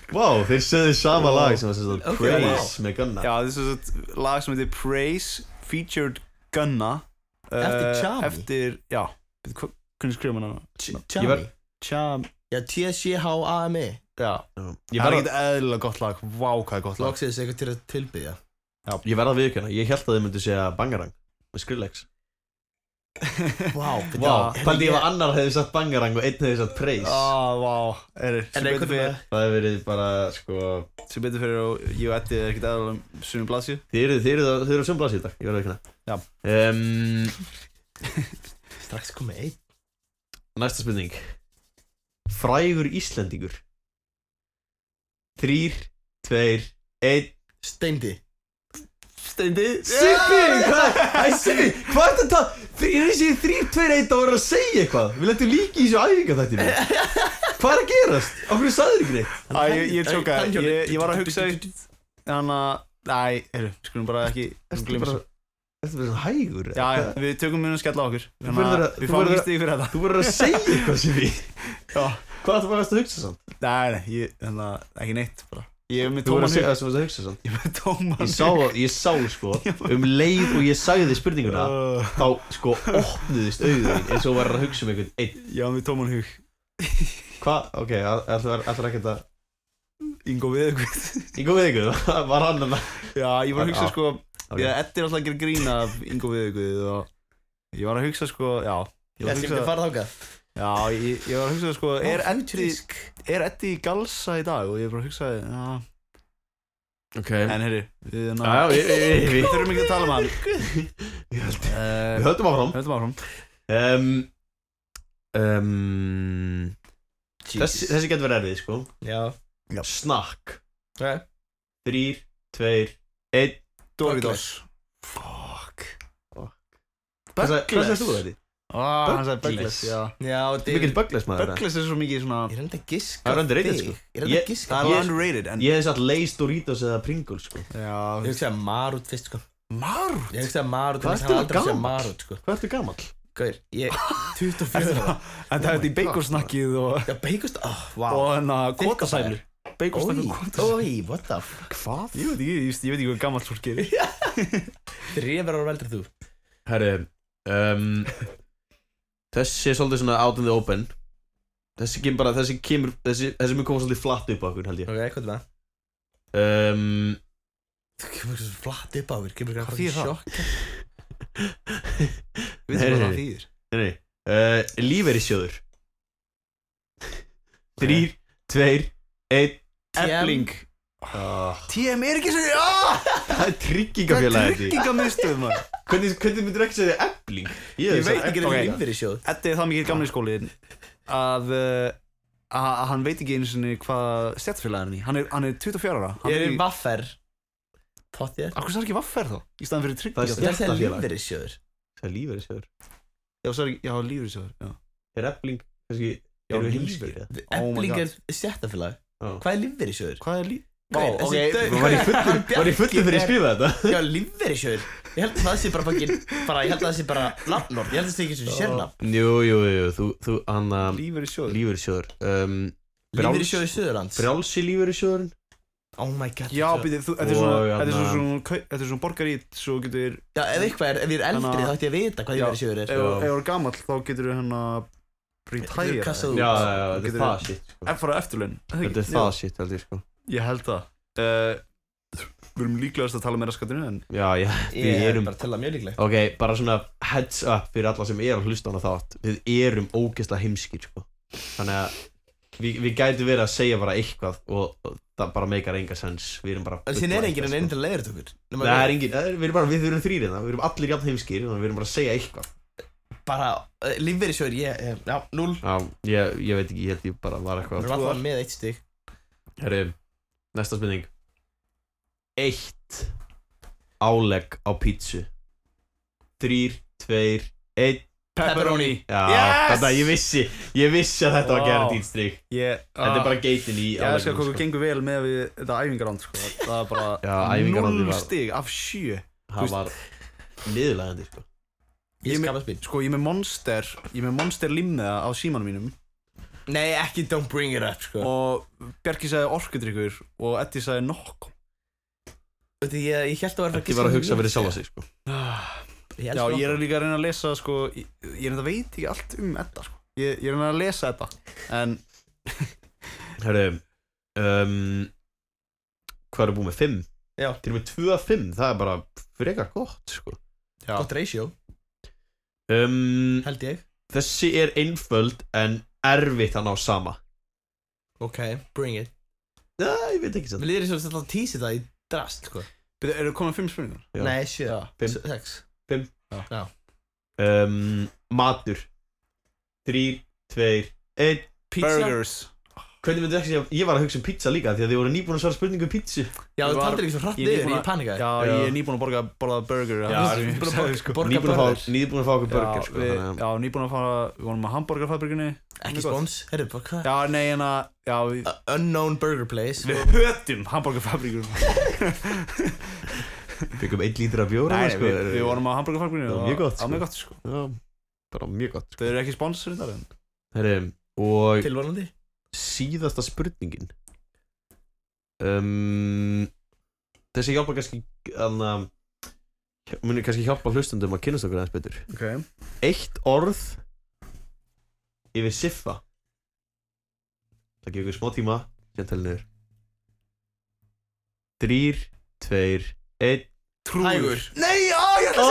Speaker 4: Vá, þeir sögðu sama lag sem var sem sagt
Speaker 3: Ok,
Speaker 4: Praise með Gunna
Speaker 2: Já, þetta er svo lag sem heitir Praise featured Gunna eh,
Speaker 3: Eftir Chami.
Speaker 2: Eftir, já Bíddu, hva- Hvernig skrifa maður hana?
Speaker 4: Ég
Speaker 3: Chami
Speaker 4: var-
Speaker 2: Cham
Speaker 3: Já, T-S-H-A-M-E
Speaker 2: Já,
Speaker 4: Ég
Speaker 2: það er
Speaker 4: verð
Speaker 2: ekkert eðlilega gott lag Vá, hvað er gott lag
Speaker 3: Loksins eitthvað til að tilbyðja
Speaker 4: að- ég verð að viðkjöna, ég held að þið myndu segja Bangarang með Skrillex
Speaker 3: Vá,
Speaker 4: Vá,
Speaker 3: já,
Speaker 4: pældi ég
Speaker 3: ég-
Speaker 4: að annar hefði sagt Bangarang og einn hefði sagt
Speaker 2: *laughs*
Speaker 4: Praise
Speaker 2: Ah, vá, er, sem,
Speaker 3: En
Speaker 2: betur
Speaker 3: eitthvað
Speaker 2: fyrir,
Speaker 3: með
Speaker 4: Það hefði verið bara, sko
Speaker 2: sem betur fyrir og ég og Eddi er ekkert aðal um sumum blasju
Speaker 4: Þið eru, þið eru, þið eru á sömblasið í dag, ég verði ekki
Speaker 2: Já.
Speaker 4: hana um,
Speaker 3: Strax komið einn
Speaker 4: Næsta spurning Frægur Íslendingur Þrýr, tveir, einn
Speaker 3: Steindi
Speaker 2: Steindi
Speaker 4: Sippi, hvað, æ, Sippi, hvað er þetta Þrýr, ég þessi þrýr, tveir, einn, þá verður að segja eitthvað Við lentum líki í þessu æfinga þetta Hvað er að gerast? Af hverju sagður ekki neitt?
Speaker 2: Æ, ég, ég tjóka, ég, ég var að hugsa eitt hann að Æ, heyrðu, skulum bara ekki
Speaker 4: Ertu
Speaker 2: gleyma
Speaker 4: bara,
Speaker 2: þessu.
Speaker 4: ertu bara svona hægur?
Speaker 2: Já, já, við tökum mjög að skella á okkur Þannig
Speaker 4: verður
Speaker 2: að
Speaker 4: að-
Speaker 2: við
Speaker 4: þú
Speaker 2: fáum ekki
Speaker 4: verður að-
Speaker 2: stíð fyrir þetta
Speaker 4: Þú verður að segja eitthvað sem við
Speaker 2: Já.
Speaker 4: Hvað ættu bara að hugsa samt?
Speaker 2: Nei, nei, ég, þannig að ekki neitt bara Ég er með
Speaker 4: Þú verður
Speaker 2: tóman
Speaker 4: að segja það sem þú ert að hugsa samt
Speaker 2: Ég er með tóman
Speaker 4: Ég sá,
Speaker 2: *laughs*
Speaker 4: ég sá sko, um leið og ég sagði spurninguna
Speaker 2: uh,
Speaker 4: Þá sko opnuðist auðvitað eins og var að hugsa um einhvern einn
Speaker 2: Ég er með tóman hug
Speaker 4: Hvað, ok, ætlar ekki að
Speaker 2: Ingo við eitthvað
Speaker 4: Ég kom við ykkur, *laughs* var hann að
Speaker 2: Já, ég var að hugsa
Speaker 4: Já.
Speaker 2: sko
Speaker 4: Ok.
Speaker 2: okay. Ég eddi alltaf að gera grín af Ingo við eitthvað og ég var að hugsa sko Já, ég
Speaker 3: Ég
Speaker 2: var að
Speaker 3: ætlum ekki að
Speaker 2: hugsa
Speaker 3: fara þákað
Speaker 2: Já, ég, ég var að hugsa sko Er Eddi, er Eddi í galsa í dag? Og ég bara hugsaði Já,
Speaker 4: Ok
Speaker 2: en heyrðu Við ná-
Speaker 4: Já, já, ég- ég-
Speaker 2: Við
Speaker 4: ég-
Speaker 2: þurfum ekki að tala um hann
Speaker 4: Ég held Við
Speaker 2: Eh,
Speaker 4: höldum áfram
Speaker 2: Höldum áfram
Speaker 4: um, um, þessi,
Speaker 3: Jesus
Speaker 4: þessi getur verið erfið sko
Speaker 3: Já
Speaker 2: Já.
Speaker 4: Snakk
Speaker 3: Ok.
Speaker 4: Þrýr, tveir, einn
Speaker 2: Doritos Fuck
Speaker 4: Hvað
Speaker 2: Bugles.
Speaker 4: sagði þú þetta?
Speaker 2: Ah, hann sagði
Speaker 4: Bugles.
Speaker 2: Böggles
Speaker 3: Já, þetta
Speaker 4: Mikið Böggles maður er
Speaker 2: Böggles er svo mikið svona
Speaker 3: Ég reyndi að giska
Speaker 4: Það er underrated,
Speaker 3: þig.
Speaker 4: sko.
Speaker 3: Ég reyndi
Speaker 4: Ég-
Speaker 3: að giska
Speaker 2: Það er
Speaker 4: Ég-
Speaker 2: alveg underrated en
Speaker 4: Ég hef satt Lays Doritos eða Pringles sko
Speaker 2: Já
Speaker 3: Ég hugsaði að Marút fyrst sko
Speaker 2: Marút
Speaker 3: Ég hugsaði að Marút
Speaker 4: Hvað
Speaker 3: en
Speaker 4: ertu
Speaker 3: hann aldrei hugsaði
Speaker 4: gamall?
Speaker 3: Marút sko
Speaker 4: Hvað ertu gamall?
Speaker 3: Gaur, ég 24 ára
Speaker 2: En það er þetta í beikosnakkið og
Speaker 3: Já, beigust Oh,
Speaker 2: Og
Speaker 3: wow
Speaker 2: hann að
Speaker 3: Þykka
Speaker 2: kvotasælur Beikosnakk og kvotasælur
Speaker 3: Ói, ói, what the fuck
Speaker 2: Hvað? Ég veit ekki, ég veist- ég veit ekki hvað gammalt fólk gerir
Speaker 3: Þrefur ára veldur þú
Speaker 4: Herri um, Þessi er svolítið svona out in the open Þessi kemur bara, þessi kemur, þessi, þessi mun koma svolítið flatt upp á okkur held ég
Speaker 3: Ok, hvað er það?
Speaker 4: um,
Speaker 3: Þú kemur svo flatt upp á þér Kemur ekki að
Speaker 2: Hvað
Speaker 3: fara í
Speaker 2: þýðir það?
Speaker 3: sjokk
Speaker 2: Við
Speaker 4: Nei,
Speaker 2: veitum hvað
Speaker 4: nei.
Speaker 2: það þýðir
Speaker 4: Nei, nei, uh,
Speaker 3: *laughs*
Speaker 4: lífeyrissjóður Þrýr, tveir, einn *laughs*
Speaker 3: TM.
Speaker 2: Efling
Speaker 4: Ah,
Speaker 2: TM er ekki svo Ah,
Speaker 4: Það er
Speaker 2: Það er
Speaker 4: tryggingafélagið því
Speaker 2: tryggingamistuð maður
Speaker 4: Hvernig, hvernig myndir ekki segja ebling?
Speaker 3: Ég
Speaker 4: hugsa
Speaker 3: veit ekki
Speaker 4: Efling.
Speaker 3: að
Speaker 2: ok.
Speaker 3: það er sjóð
Speaker 2: Eddi er það mikið gamli skóliðin að uh, að að hann veit ekki einu sinni hvað stjættfélagin er í. Hann er, hann er 24 ára. Hann
Speaker 3: Ég er í
Speaker 2: í...
Speaker 3: vaffer Tótt ég
Speaker 2: Akkur sér ekki vaffer þá? Í staðan fyrir
Speaker 4: Það er
Speaker 2: tryggingar.
Speaker 4: stjætt-
Speaker 3: Þetta er
Speaker 4: Stéttarfélag.
Speaker 3: lífverðisjóður
Speaker 4: Það er lífeyrissjóður
Speaker 2: Já, sér ekki, já, lífur sér. Já.
Speaker 4: Er ebling, kannski,
Speaker 2: Já,
Speaker 4: eru
Speaker 2: lífeyrir.
Speaker 4: heimskir eða?
Speaker 2: Oh my
Speaker 3: Efling
Speaker 2: God.
Speaker 3: er sjöttafélag
Speaker 4: Já.
Speaker 3: Hvað er lífverðisjóður?
Speaker 2: Hvað er líf? Vá,
Speaker 3: Gaur,
Speaker 2: ok,
Speaker 3: þessi dau-
Speaker 4: Var ég fullur,
Speaker 3: Hann
Speaker 4: var ég fullur fyrir að
Speaker 3: er-
Speaker 4: skrifa þetta?
Speaker 3: Já, lífverðisjóður Ég held að það sé bara fucking bara, Ég held að það sé bara nafnord Ég held að það sé ekki sem sérnafn
Speaker 4: Jú, jú, jú, þú, þú, hann að
Speaker 2: lífur í sjóður.
Speaker 4: Lífeyrissjóður um, Brjáls-
Speaker 3: Lífverðisjóður Suðurlands
Speaker 4: Frjálsi lífeyrissjóður
Speaker 3: Oh my god
Speaker 2: Já,
Speaker 3: þetta er svo-
Speaker 2: býtið, þetta er
Speaker 4: Og
Speaker 2: svona, þetta er
Speaker 4: hérna-
Speaker 2: svona, svona, kau- þetta er svona borgarít, svo getur,
Speaker 3: Já, ef eitthvað er, ef ég er eldri
Speaker 2: Þannig að-
Speaker 3: þá ætti ég að vita hvað
Speaker 2: Já,
Speaker 3: lífverðisjóður
Speaker 2: ef
Speaker 3: er sko.
Speaker 2: ef þú er gamall, þá getur þú hérna
Speaker 3: Getur
Speaker 2: retire.
Speaker 3: kastað
Speaker 4: Já, já, já, þetta er
Speaker 2: Getur-
Speaker 4: það shit sko.
Speaker 2: En fara eftirlaun. það ekki?
Speaker 4: Þetta er það shit, held ég sko
Speaker 2: Ég held það. Uh, við erum líklegast að tala meira skattinu, en
Speaker 4: Já, já, við
Speaker 3: Ég er
Speaker 4: erum
Speaker 3: bara að tella mjög líkleg
Speaker 4: Ok, bara svona heads up fyrir alla sem er að hlusta á hana þátt Við erum ógeðslega heimskir sko. Þannig að við, við gætum verið að segja bara eitthvað og, og það bara meikar enga sens Við erum bara
Speaker 3: En síðan er enginn en einn
Speaker 4: sko.
Speaker 3: til að leiður tökur
Speaker 4: Nei, það er engin, það er- við erum bara, við erum þrýr hérna, við erum allir jafn heimskir Þannig að við erum bara að segja eitthvað
Speaker 3: Bara, lífverðisjóður, ég, ég- já, núl
Speaker 4: Já, ég, ég veit ekki, ég held ég bara var
Speaker 3: Við
Speaker 4: eitthvað
Speaker 3: erum alltaf með eitt stig
Speaker 4: Herri, næsta spurning Eitt álegg á pítsu Þrýr, tveir, einn
Speaker 3: Pepperoni.
Speaker 4: Já,
Speaker 2: Yes!
Speaker 4: þetta, ég vissi, ég vissi að þetta var
Speaker 2: Vá. sko,
Speaker 4: gerðið dýnstrík
Speaker 2: Ég,
Speaker 4: Þetta er bara geitin í
Speaker 2: Ég elskar hvað
Speaker 4: afleiknum,
Speaker 2: þú gengur vel með við þetta æfingarand sko. *laughs* Það er bara
Speaker 4: Já, æfingarandið
Speaker 2: null
Speaker 4: var-
Speaker 2: stig af sjö
Speaker 4: Það var niðurlegandi sko.
Speaker 2: Ég
Speaker 3: Ég
Speaker 2: með-
Speaker 3: skapa spil
Speaker 2: Sko ég er með monster Ég er með monster limmiða á símanum mínum
Speaker 3: Nei, ekki don't bring it up, sko
Speaker 2: Og Bjarki sagði orkudrykkur Og Eddi sagði nokk
Speaker 3: Þú veit, ég, ég held að vera
Speaker 4: Ekki bara að hugsa fyrir sjálfa sig sko.
Speaker 2: Ah,
Speaker 3: Já,
Speaker 2: Já ég er líka að reyna að lesa sko Ég, ég er enda veit ekki allt um Edda sko Ég, ég er að reyna að lesa þetta En
Speaker 4: Herru um, Hvað er búið með 5?
Speaker 3: Já.
Speaker 4: Til og með 2 af 5 Það er bara frekar gott sko.
Speaker 2: já
Speaker 3: Gott ratio,
Speaker 4: um,
Speaker 3: held ég
Speaker 4: Þessi er einföld En erfitt að ná sama
Speaker 3: Ok, bring it
Speaker 4: Já, ég veit ekki sann
Speaker 3: Mér líður eins og þetta að tísi það í drast, sko
Speaker 2: Byrju, Eru komin fimm spurningar?
Speaker 4: Já.
Speaker 3: Nei, sjö
Speaker 4: Fimm.
Speaker 3: S- Sex
Speaker 4: um, Matur 3, 2, 1
Speaker 3: Pizza
Speaker 2: Burgers
Speaker 4: Hvernig myndið ekki segja Ég var að hugsa um pizza líka Því að þið voru nýbúin að svara spurningu um pizzu
Speaker 3: Já,
Speaker 2: Ég
Speaker 3: þú
Speaker 2: var-
Speaker 3: taldir ekki svo hratt
Speaker 2: ég er
Speaker 3: yfir,
Speaker 2: nýbúin
Speaker 3: ég panikaði
Speaker 2: Já,
Speaker 4: Já.
Speaker 2: ég er nýbúin að borga, borða burger
Speaker 4: Já,
Speaker 2: *laughs*
Speaker 4: það er mjög
Speaker 3: Nýbúin að
Speaker 2: sagði,
Speaker 3: borga-
Speaker 2: sko.
Speaker 3: borga
Speaker 4: Nýbúin að
Speaker 3: burgers.
Speaker 4: fá Nýbúin að fá okkur burger
Speaker 2: já,
Speaker 4: sko,
Speaker 2: við,
Speaker 4: þannig að-
Speaker 2: já, nýbúin að fara Við vorum að hamburgerfabrikunni
Speaker 3: Ekki
Speaker 2: Mjög gott.
Speaker 3: spons, herru, bara hvað?
Speaker 2: Já, nei, en að Já, við,
Speaker 3: A- Unknown Burger Place
Speaker 2: við hötum hamburgerfabrikunni
Speaker 4: Fengum einn lítra af bjóra
Speaker 2: Nei,
Speaker 4: sko,
Speaker 2: við, við
Speaker 4: vorum
Speaker 2: vorum að hamburgerfabrikunni
Speaker 4: Það var
Speaker 2: og-
Speaker 4: mjög gott,
Speaker 2: Það var mjög
Speaker 4: sko.
Speaker 2: gott, sko
Speaker 4: Já, bara mjög gott sko.
Speaker 2: Þau eru ekki sponsor í dag en
Speaker 4: Herri, og
Speaker 3: Tilvonandi
Speaker 4: síðasta spurningin um, Þessi hjálpa kannski anna, muni kannski hjálpa hlustundum að kynast okkur aðeins betur
Speaker 2: Ok
Speaker 4: Eitt orð yfir siffa Það gefur ykkur smá tíma sem talin er Þrýr, tveir, einn
Speaker 2: Trúður
Speaker 3: Hægur.
Speaker 2: Nei, á, ég ætla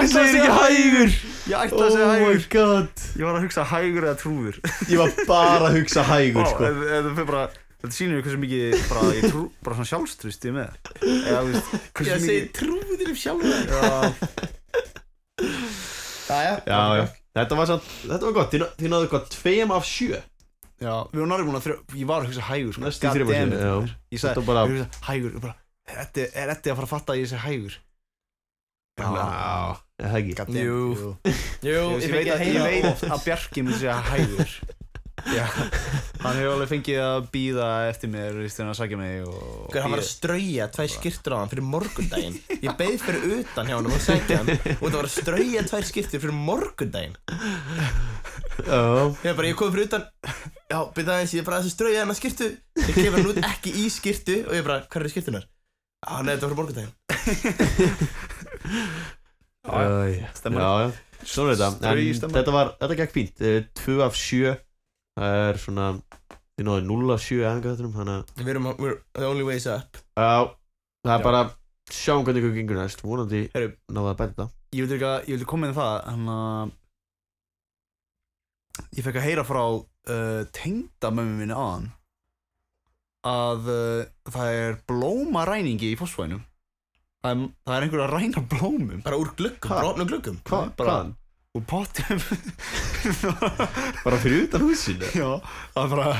Speaker 2: að segja hægur Ég ætla að
Speaker 4: Hvað segir
Speaker 2: segja
Speaker 4: ekki hægur?
Speaker 2: Ég ætla að
Speaker 4: Oh
Speaker 2: segja
Speaker 4: my
Speaker 2: hægur
Speaker 4: god
Speaker 2: Ég var að hugsa hægur eða trúður
Speaker 4: Ég var bara að hugsa hægur
Speaker 2: Vá,
Speaker 4: sko.
Speaker 2: ef- ef Þetta fyrir bara Þetta sýnir mér hversu mikið bara, ég trú, bara svona sjálfstrust ég er með Eða, þú veist,
Speaker 3: Ég
Speaker 2: hversu
Speaker 3: segi
Speaker 2: mikið
Speaker 3: trúður um sjálfur
Speaker 2: Já,
Speaker 3: Jæja,
Speaker 4: Já, já Þetta var, samt, þetta var gott, Þið ná- þið náðu hvað, tveim af sjö
Speaker 2: já, við varum náttúrulega þrjá Ég var að hugsa hægur sko.
Speaker 4: Næstu
Speaker 2: God
Speaker 4: þrjum að
Speaker 2: damn
Speaker 4: sjö
Speaker 2: it.
Speaker 4: já.
Speaker 2: Ég
Speaker 4: Þetta
Speaker 2: sagði,
Speaker 4: var bara
Speaker 2: ég hugsa hægur ég bara, Er þetta er þetta að fara að fatta að ég sé hægur?
Speaker 4: Ná, er það ekki
Speaker 2: God damn it,
Speaker 3: Jú. Jú,
Speaker 2: Ég,
Speaker 3: ég
Speaker 2: ég, veit að,
Speaker 3: fengi að
Speaker 2: ég
Speaker 3: heyra
Speaker 2: veit að Bjarki mun segja hægur Já, hann hefur alveg fengið að býða eftir mér Þegar hann að sækja mig og
Speaker 3: Hver, hann var að strauja tvær skirtur á hann fyrir morgundaginn Ég beið fyrir utan hjá hann og sætti hann Og það var að strauja tvær skirtur fyrir morgundaginn
Speaker 4: *laughs* Já,
Speaker 3: Ég bara, ég kom fyrir utan Já, byrða aðeins, ég bara að þessu strauja hann að skirtu Ég kemur hann út ekki í skirtu Og ég bara, hvað eru skirtunar? Já, nei, þetta var fyrir morgundaginn
Speaker 4: *laughs*
Speaker 2: Já, já.
Speaker 4: Æ,
Speaker 2: Stemma.
Speaker 4: Já, já, svona er þetta
Speaker 2: Straui
Speaker 4: En
Speaker 2: stemma.
Speaker 4: þetta var, þetta gekk fínt Eh, Tvö af sjö Það er svona, þið náðu 0 af sjö æfingaþáttunum, Þannig að,
Speaker 3: Við erum, we're the only ways up
Speaker 4: já, það er
Speaker 2: Já.
Speaker 4: bara Sjáum hvernig ykkur gengur næst Vonandi
Speaker 2: Heyrðu.
Speaker 4: náðu að bæta þetta
Speaker 2: Ég vildi, líka, ég vildi koma inn það hann að ég fekk að heyra frá uh, tengdamömmu minni aðan að uh, það er blómaræningi í fósfænum það er, það er einhver að ræna blómum
Speaker 3: Bara úr gluggum,
Speaker 4: Ha?
Speaker 3: bara opnum gluggum
Speaker 4: Hvað,
Speaker 2: bara-
Speaker 4: hvaðan?
Speaker 2: og pottum
Speaker 4: *laughs* Bara fyrir utan húsinu
Speaker 2: *laughs* já, það bara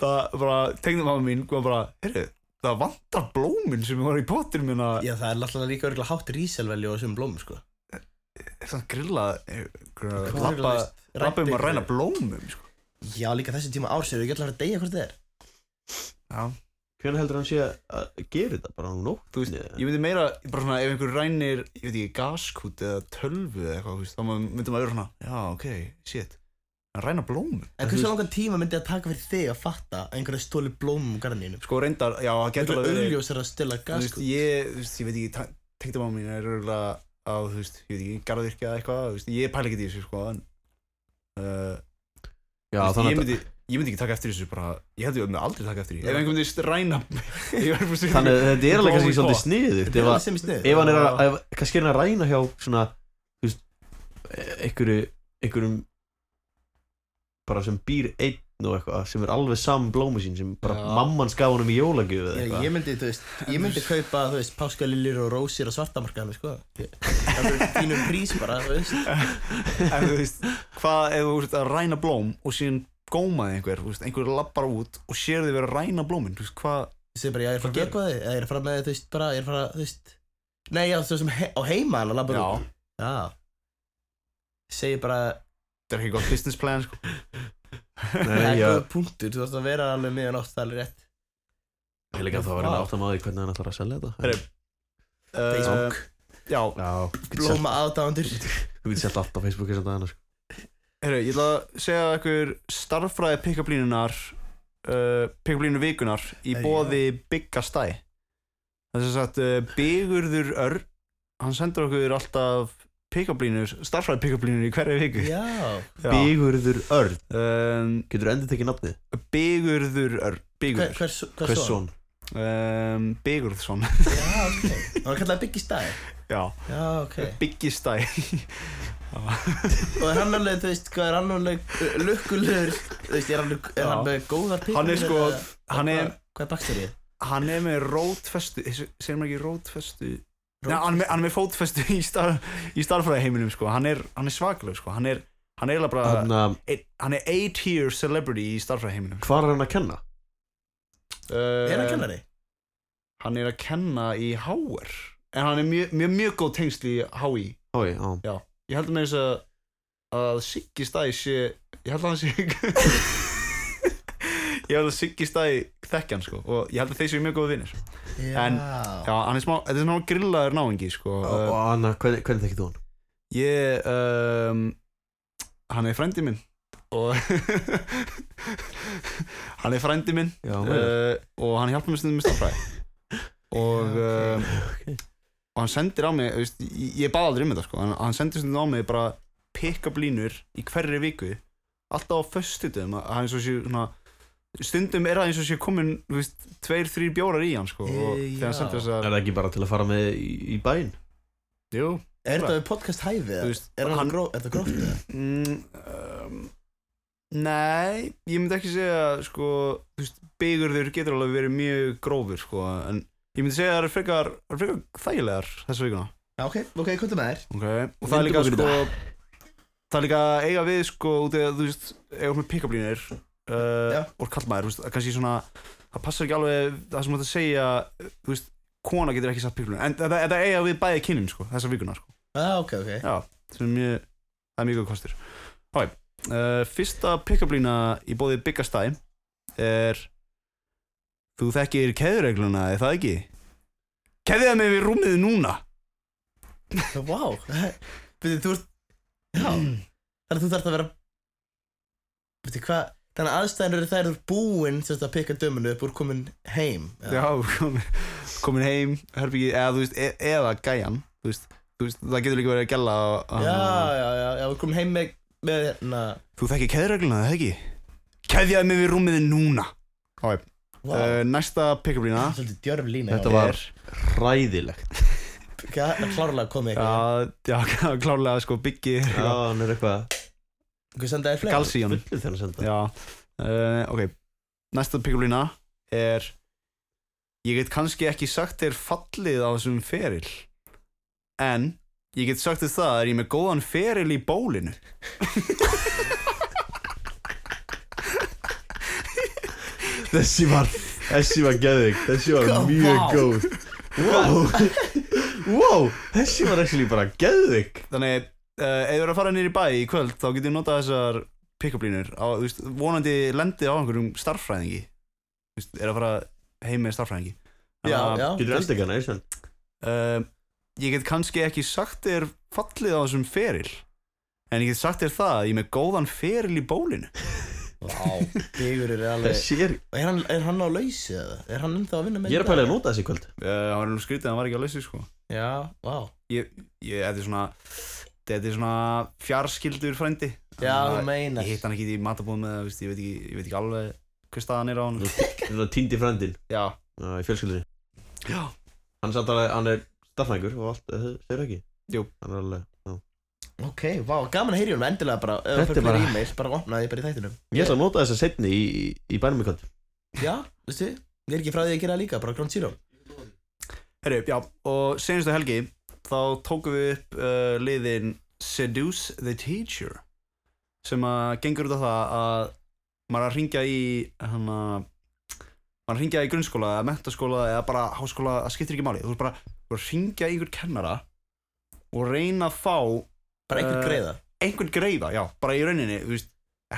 Speaker 2: það bara, tengdamömmu mín var bara, heyrðu, það vantar blómin sem var í pottinum hérna." minna
Speaker 3: Já, það er alltaf líka örgulega hátt ríselvelju á þessum blómum, sko
Speaker 2: þannig grilla
Speaker 3: Hvað er
Speaker 2: lappa
Speaker 3: örugglega veist, rænt
Speaker 2: um að
Speaker 3: einhver-
Speaker 2: ræna blómum sko.
Speaker 3: Já, líka þessi tíma árs eru ekki alltaf að deyja hvort þið er
Speaker 2: já
Speaker 4: Hvernig heldur hann sé að gera þetta? Bara á nótt
Speaker 2: Þú veist, ég myndi meira, bara svona, ef einhver rænir, ég veit ekki, gaskút eða tölvu eða eitthvað, þú veist, þá myndi maður vera svona, já, ok, shit, hann ræna blómum.
Speaker 3: En hversu langan tíma myndi að taka fyrir þig að fatta að einhverja stóli blómum úr garðinum?
Speaker 2: Sko, reyndar, já, það getur alveg
Speaker 3: Einhverja
Speaker 2: verið,
Speaker 3: auðljós er að stila
Speaker 2: þú veist,
Speaker 4: sko.
Speaker 3: gaskut
Speaker 2: ég, þú veist, ég veit ekki, tengdum á mín er örgulega á, þú veist, ég veit ekki, garðvirkja eða eitthvað, þú veist, ég pæla ekki í þessu, sko, en, uh, þú
Speaker 4: Já,
Speaker 2: veist,
Speaker 4: þannig
Speaker 2: ég
Speaker 4: að
Speaker 2: myndi, ég myndi ekki taka eftir þessu, bara, ég held ég myndi aldrei taka eftir því.
Speaker 3: Já.
Speaker 2: Ef einhvern veginn ræna, *laughs* ég verður bara að segja-
Speaker 4: Þannig að þetta er alveg kannski
Speaker 2: Blóm í
Speaker 4: svolítið
Speaker 2: pott.
Speaker 4: sniðugt ef
Speaker 3: Það
Speaker 4: að-
Speaker 3: er sem í snið
Speaker 4: ef hann er að, ef, kannski er hann að ræna hjá svona, þú veist e- einhverju, einhverjum bara sem býr einn og eitthvað, sem er alveg saman blómi sín sem bara
Speaker 2: Já.
Speaker 4: mamman skaf honum í jólagjöfu eða eitthvað
Speaker 3: Ég myndi, þú veist, ég myndi kaupa, þú veist, páskalilir og rósir á svartamarkaðinu,
Speaker 2: *laughs*
Speaker 3: sko Það er þínum prís bara, þú veist
Speaker 2: *laughs* en þú veist, hvað ef þú veist að ræna blóm og síðan gómaði einhver, þú veist, einhver lappar út og sér þið vera að ræna blómin, þú veist, hvað
Speaker 3: Þú segir bara, já, ég er að fara að gera eitthvað, eða ég er að fara með, þú veist, bara, ég er að fara, þú veist Nei, já, þú veist, sem he- á heima hann að labba út
Speaker 2: já,
Speaker 3: Já Segir bara,
Speaker 2: þetta er ekki gott business plan, sko
Speaker 4: *laughs* Nei,
Speaker 3: það er
Speaker 4: já,
Speaker 3: góð punktur, þú þarfst að vera alveg miðan átt, það er alveg rétt
Speaker 4: ég er líka að það var hann átt að maður hvernig hann ætlar að selja þetta
Speaker 2: Herri,
Speaker 3: Facebook.
Speaker 2: uh, Já,
Speaker 4: Já, þú getur selt-
Speaker 3: Blóma aðdáðandur
Speaker 4: þú getur selt allt á Facebook þess að dagana sko.
Speaker 2: herru, ég ætla að segja ykkur starffræði pick-up-línunar uh, pick-up-línu vikunar í
Speaker 3: Eh,
Speaker 2: bóði Byggastæ Það er sem sagt, uh, Byggurður Örn hann sendur okkur alltaf pick-up-línur, starffræði pick-up-línur í hverju viku
Speaker 3: Já
Speaker 2: Já.
Speaker 4: Bigurður Örn,
Speaker 2: Um,
Speaker 4: getur endur tekið nafnið?
Speaker 2: Byggurður Örn Byggur
Speaker 3: Hver, hvers, hvers
Speaker 4: Hvers
Speaker 3: son?
Speaker 4: son?
Speaker 2: um, Bigurðsson *laughs*
Speaker 3: Já, ok Það var kallað Biggie Stæ
Speaker 2: já,
Speaker 3: Já, ok
Speaker 2: Biggistæ
Speaker 3: Og er hann alveg, þú veist, hvað er hann alveg uh, lukkulegur Þú veist, er hann, alveg- er
Speaker 2: Já.
Speaker 3: hann með góðar pikkur
Speaker 2: Hann er sko, hann er
Speaker 3: Hvað, hvað er baksterið?
Speaker 2: hann er með rótfestu segir maður ekki rótfestu Nei, hann, er með- hann er með fótfestu í, star, í starfræðaheiminum sko. hann er, hann er svakleg sko. hann er Hann er eiginlega bara
Speaker 4: Þannig að
Speaker 2: ein- Hann er A-tier celebrity í starfræðheiminum
Speaker 4: hvað er hann að kenna?
Speaker 2: uh,
Speaker 3: Er hann kennari?
Speaker 2: Hann er að kenna í HR En hann er mjög, mjög, mjög góð tengsl í HÍ
Speaker 4: Hói, á
Speaker 2: Ég heldur með þess að að Siggi Stæ sé Ég held að hann sé *laughs* Ég held að Siggi Stæ þekki hann sko Og ég held að þeir séu mjög góði vinnir En- Já, hann er smá, þetta er smá grillaður náingi sko
Speaker 4: Og
Speaker 2: uh,
Speaker 4: og Anna, hvernig, hvernig þekkir þú hann?
Speaker 2: Ég, um, hann er frændi minn Og *laughs* Hann er frændi minn
Speaker 4: Já,
Speaker 2: uh, og hann hjálpar mér stundum með stafræði eh,
Speaker 4: *laughs*
Speaker 2: og,
Speaker 3: Já,
Speaker 2: uh, og hann sendir á mig þú veist, ég, ég bað aldrei um þetta sko hann, hann sendir stundum á mig bara pick up línur í hverri viku alltaf á föstudum hann er svo sé svona stundum er það eins og sé komin þú veist, tveir, þrýr bjórar í hann sko og
Speaker 3: Eh,
Speaker 2: þegar hann
Speaker 3: já.
Speaker 2: sendir þess
Speaker 4: Er
Speaker 2: að
Speaker 4: það ekki bara til að fara með í, í bæinn?
Speaker 2: jú,
Speaker 3: Er þetta við podcast hæfið?
Speaker 2: Þú
Speaker 3: eða?
Speaker 2: veist,
Speaker 3: Er
Speaker 2: hann-
Speaker 3: hann gró- er þetta gróft eða?
Speaker 2: mm, um, nei ég myndi ekki segja sko þú veist, byggurður getur alveg verið mjög grófur sko en ég myndi segja að það er frekar, það eru frekar þægilegar þessa vikuna
Speaker 3: Já, ok, ok, hvað er með þér?
Speaker 2: okay. og það er líka
Speaker 4: Vindum
Speaker 2: sko það er líka að eiga við sko út eða þú veist eiga með pick-up línir
Speaker 3: Já.
Speaker 2: uh, og kallmaður, þú veist, að kannski svona það passar ekki alveg það sem þú ert að segja þú veist, kona getur ekki satt pick-up línir en þetta- þetta eiga við bæði kynin sko, þessa vikuna sko
Speaker 3: Já, Ah, ok, ok
Speaker 2: já, sem er mjög það er mjög góð kostur Hái, uh, fyrsta pick-up lína í bóði byggastæ er þú þekkir keðuregluna, er það ekki? keðiða mig við rúmið núna
Speaker 3: Vá
Speaker 4: *laughs*
Speaker 3: Byrðu, þú ert Já *clears throat* Þannig að þú þarft að vera Byrðu, hvað Þannig að aðstæðan eru þær þú ert búinn sem sagt að pikka dömunu upp úr komin heim
Speaker 2: já, komin, komin heim herbyggi, eða þú veist, e eða gæjan þú veist, þú veist, það getur líka verið að gæla
Speaker 3: Já, já, já, já, við komum heim með, með hérna
Speaker 2: þú þekkir keðregluna, það ekki? keðjaði mig við rúmið núna Hái,
Speaker 3: Vá,
Speaker 2: uh, næsta pick-up lína
Speaker 3: svolítið djörf lína
Speaker 4: Eh. Þetta
Speaker 3: var
Speaker 4: var ræðilegt
Speaker 3: Klárlega komið eitthvað
Speaker 2: Já, já, *laughs* klárlega sko byggi
Speaker 4: Já, hann er eitthvað
Speaker 3: Hvað sendaði fleiri?
Speaker 2: galsi í honum
Speaker 4: fullu þegar hann senda
Speaker 2: Já, uh, ok Næsta píkulína er Ég get kannski ekki sagt þér fallið á þessum feril En Ég get sagt þér það að ég er með góðan feril í bólinu
Speaker 4: Þessi var, þessi var geðvig Þessi var
Speaker 3: Vá.
Speaker 4: mjög góð Wow Wow, þessi var actually bara geðvig
Speaker 2: Þannig, uh, ef þú eru að fara niður í bæ í kvöld Þá getur notað þessar píkublínur á, þú veist, Vonandi lendið á einhverjum starffræðingi Þú veist, Er að fara heim með starffræðingi
Speaker 3: Já, já
Speaker 4: Ah, Getur endið ekki hana, Ísland?
Speaker 2: uh, Ég get kannski ekki sagt þér fallið á þessum feril En ég get sagt þér það að ég er með góðan feril í bólinu
Speaker 3: Vá, Digur er alveg
Speaker 4: Þessi er,
Speaker 3: er hann, er hann á lausi eða? Er hann ennþá að vinna með
Speaker 4: ég er að pæla að nota þessi í kvöld
Speaker 2: Uh, Það var nú skrítið, hann var ekki að leysi sko
Speaker 3: Já, vá
Speaker 2: Ég, þetta er svona Þetta er svona fjarskildur frændi
Speaker 3: Já,
Speaker 2: Þannig að
Speaker 3: þú meinar
Speaker 2: Ég hitt hann ekki í matabóðum eða, veist, ég, veit ekki, ég veit ekki alveg hvað staðan er á hann
Speaker 4: Þetta týndi frændin
Speaker 2: Já,
Speaker 4: uh, í fjölskyldinni
Speaker 2: já
Speaker 4: Hann er samt alveg, hann er starfnægur og allt, þau eru ekki
Speaker 2: Jú.
Speaker 4: Hann er alveg, já
Speaker 3: Ok, vá, gaman að heyri hún endilega bara ef
Speaker 4: Þetta
Speaker 3: Þetta
Speaker 4: er
Speaker 3: er bara
Speaker 4: bara-
Speaker 3: e-mail, bara opnaði bara í þættinum
Speaker 4: Ég ætla að nota þessa setni í, í, í bænum í kvöld
Speaker 3: Já, veistu, ég er ekki frá því að gera það líka, bara Ground Zero
Speaker 2: Herru, já, og senastu helgi þá tókum við upp uh, liðin Seduce the Teacher sem að gengur út af það að maður er að ringja í hann að maður er að ringja í grunnskóla eða mentaskóla eða bara háskóla, það skiptir ekki máli þú er bara þú ert að ringja í einhver kennara og reyna að fá
Speaker 3: Bara einhver
Speaker 4: Uh,
Speaker 2: Eh,
Speaker 3: greiða
Speaker 2: einhvern greiða, já, bara í rauninni þú veist,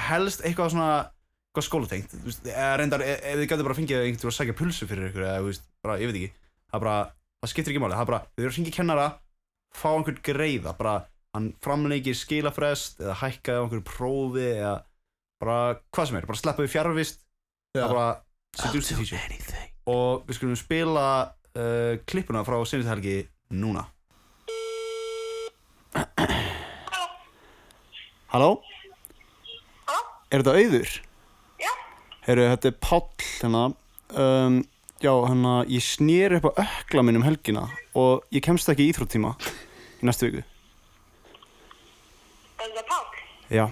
Speaker 2: helst eitthvað svona eitthvað skólatengt, þú veist, eða reyndar e- ef þið gætu bara fengið einhvern til að sækja pulsu fyrir ykkur eða, þú veist, bara, ég veit ekki, það bara það skiptir ekki máli, það bara, þau eru að hringja í kennara fá einhvern greiða, bara hann framleikir skilafrest eða hækkaði á einhverju prófi eða bara, hvað sem er, bara sleppa við fjarrvist
Speaker 3: Já.
Speaker 2: það bara, seduce the teacher
Speaker 4: anything
Speaker 2: og við skulum spila uh, klippuna frá sinniðhelgi núna Halló Er þetta auður?
Speaker 1: Já.
Speaker 2: Herru, þetta er Páll hérna um, Já, hérna, ég snýr upp á ökla minn um helgina og ég kemst ekki í íþróttíma í næstu viku
Speaker 1: Er þetta Páll?
Speaker 2: Já,